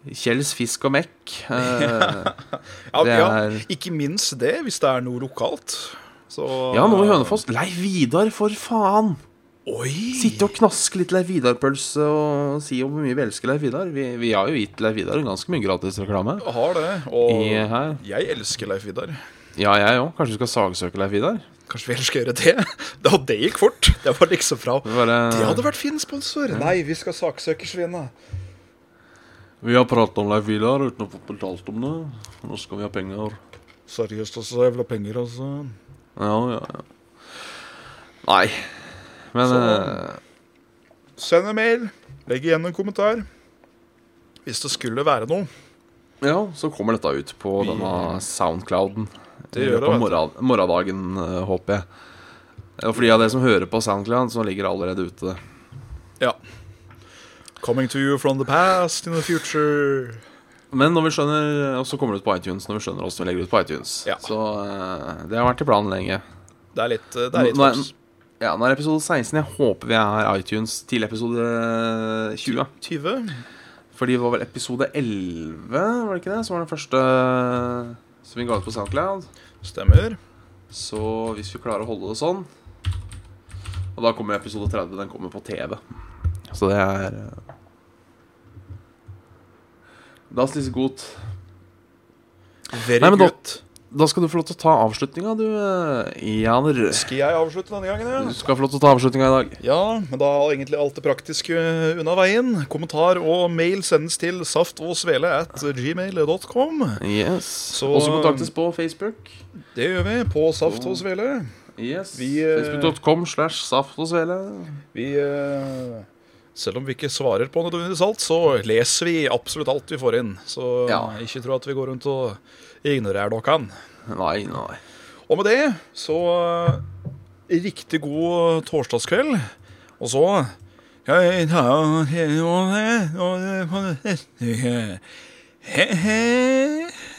S1: Kjells fisk og mekk. eh,
S2: Ja,
S1: Det
S2: ja,
S1: er-
S2: ikke minst det, hvis det er noe lokalt. Så,
S1: ja, nå i Hønefoss. Leif Vidar, for faen!
S2: Oi!
S1: Sitte og knaske litt Leif Vidar-pølse og si om hvor mye vi elsker Leif Vidar. Vi, vi har jo gitt Leif Vidar ganske mye gratis reklame.
S2: Har det. Og
S1: I, eh, her.
S2: jeg elsker Leif Vidar.
S1: Ja, jeg òg. Kanskje vi skal sagsøke Leif Vidar?
S2: Kanskje vi heller skal gjøre det? Da det gikk fort. Det var liksom fra
S1: Vi Bare,
S2: Det hadde vært fin sponsor. Nei, vi skal saksøke Svina.
S1: Vi har pratet om Leif Vidar uten å få betalt om det. Nå skal vi ha penger.
S2: Seriøst, altså. så Jævla penger, altså.
S1: Ja, ja, ja. Nei. Men
S2: Så-
S1: eh,
S2: Send en mail. Legg igjen en kommentar. Hvis det skulle være noe.
S1: Ja, så kommer dette ut på denne Soundclouden.
S2: Det gjør det,
S1: På
S2: vet du.
S1: morgen- morgendagen, eh, håper jeg. Og for de av dere som hører på Soundcloud, så ligger det allerede ute.
S2: Ja. Coming to you from the past in the future.
S1: Men når vi skjønner, og så kommer det ut på iTunes når vi skjønner hvordan vi legger ut på iTunes.
S2: Ja.
S1: Så eh, det har vært i planen lenge.
S2: Det er litt, eh, det er litt
S1: Nå- nå er-
S2: faks.
S1: Ja, nå er episode 16. Jeg håper vi er iTunes til episode 20.
S2: 20.
S1: For det var vel episode 11, var det ikke det? Som var den første eh, som vi ga ut på Soundcloud.
S2: Stemmer.
S1: Så hvis vi klarer å holde det sånn Og da kommer episode 30. Den kommer på TV. Så det er eh, Das ist gut.
S2: Very
S1: Nei, men da-
S2: good.
S1: Da skal du få lov til å ta avslutninga, du, eh, Janer.
S2: Skal jeg avslutte denne gangen,
S1: Du skal få lov til å ta avslutninga i dag.
S2: ja? Ja, men da er egentlig alt det praktiske unna veien. Kommentar og mail sendes til saftogsvele at gmail.com.
S1: Yes.
S2: Så- um,
S1: Også kontaktes på Facebook.
S2: Det gjør vi på Saft og Svele.
S1: Yes.
S2: Vi, eh,
S1: Facebook.com slash saft og svele.
S2: Vi eh, Selv om vi ikke svarer på nødvendigvis alt, så leser vi absolutt alt vi får inn. Så
S1: Ja.
S2: ikke tro at vi går rundt og ignorerer noen.
S1: Nei, nei.
S2: Og med det så eh, riktig god torsdagskveld. Og så Jeg tar av hele året, og det får det neste uke. He, he.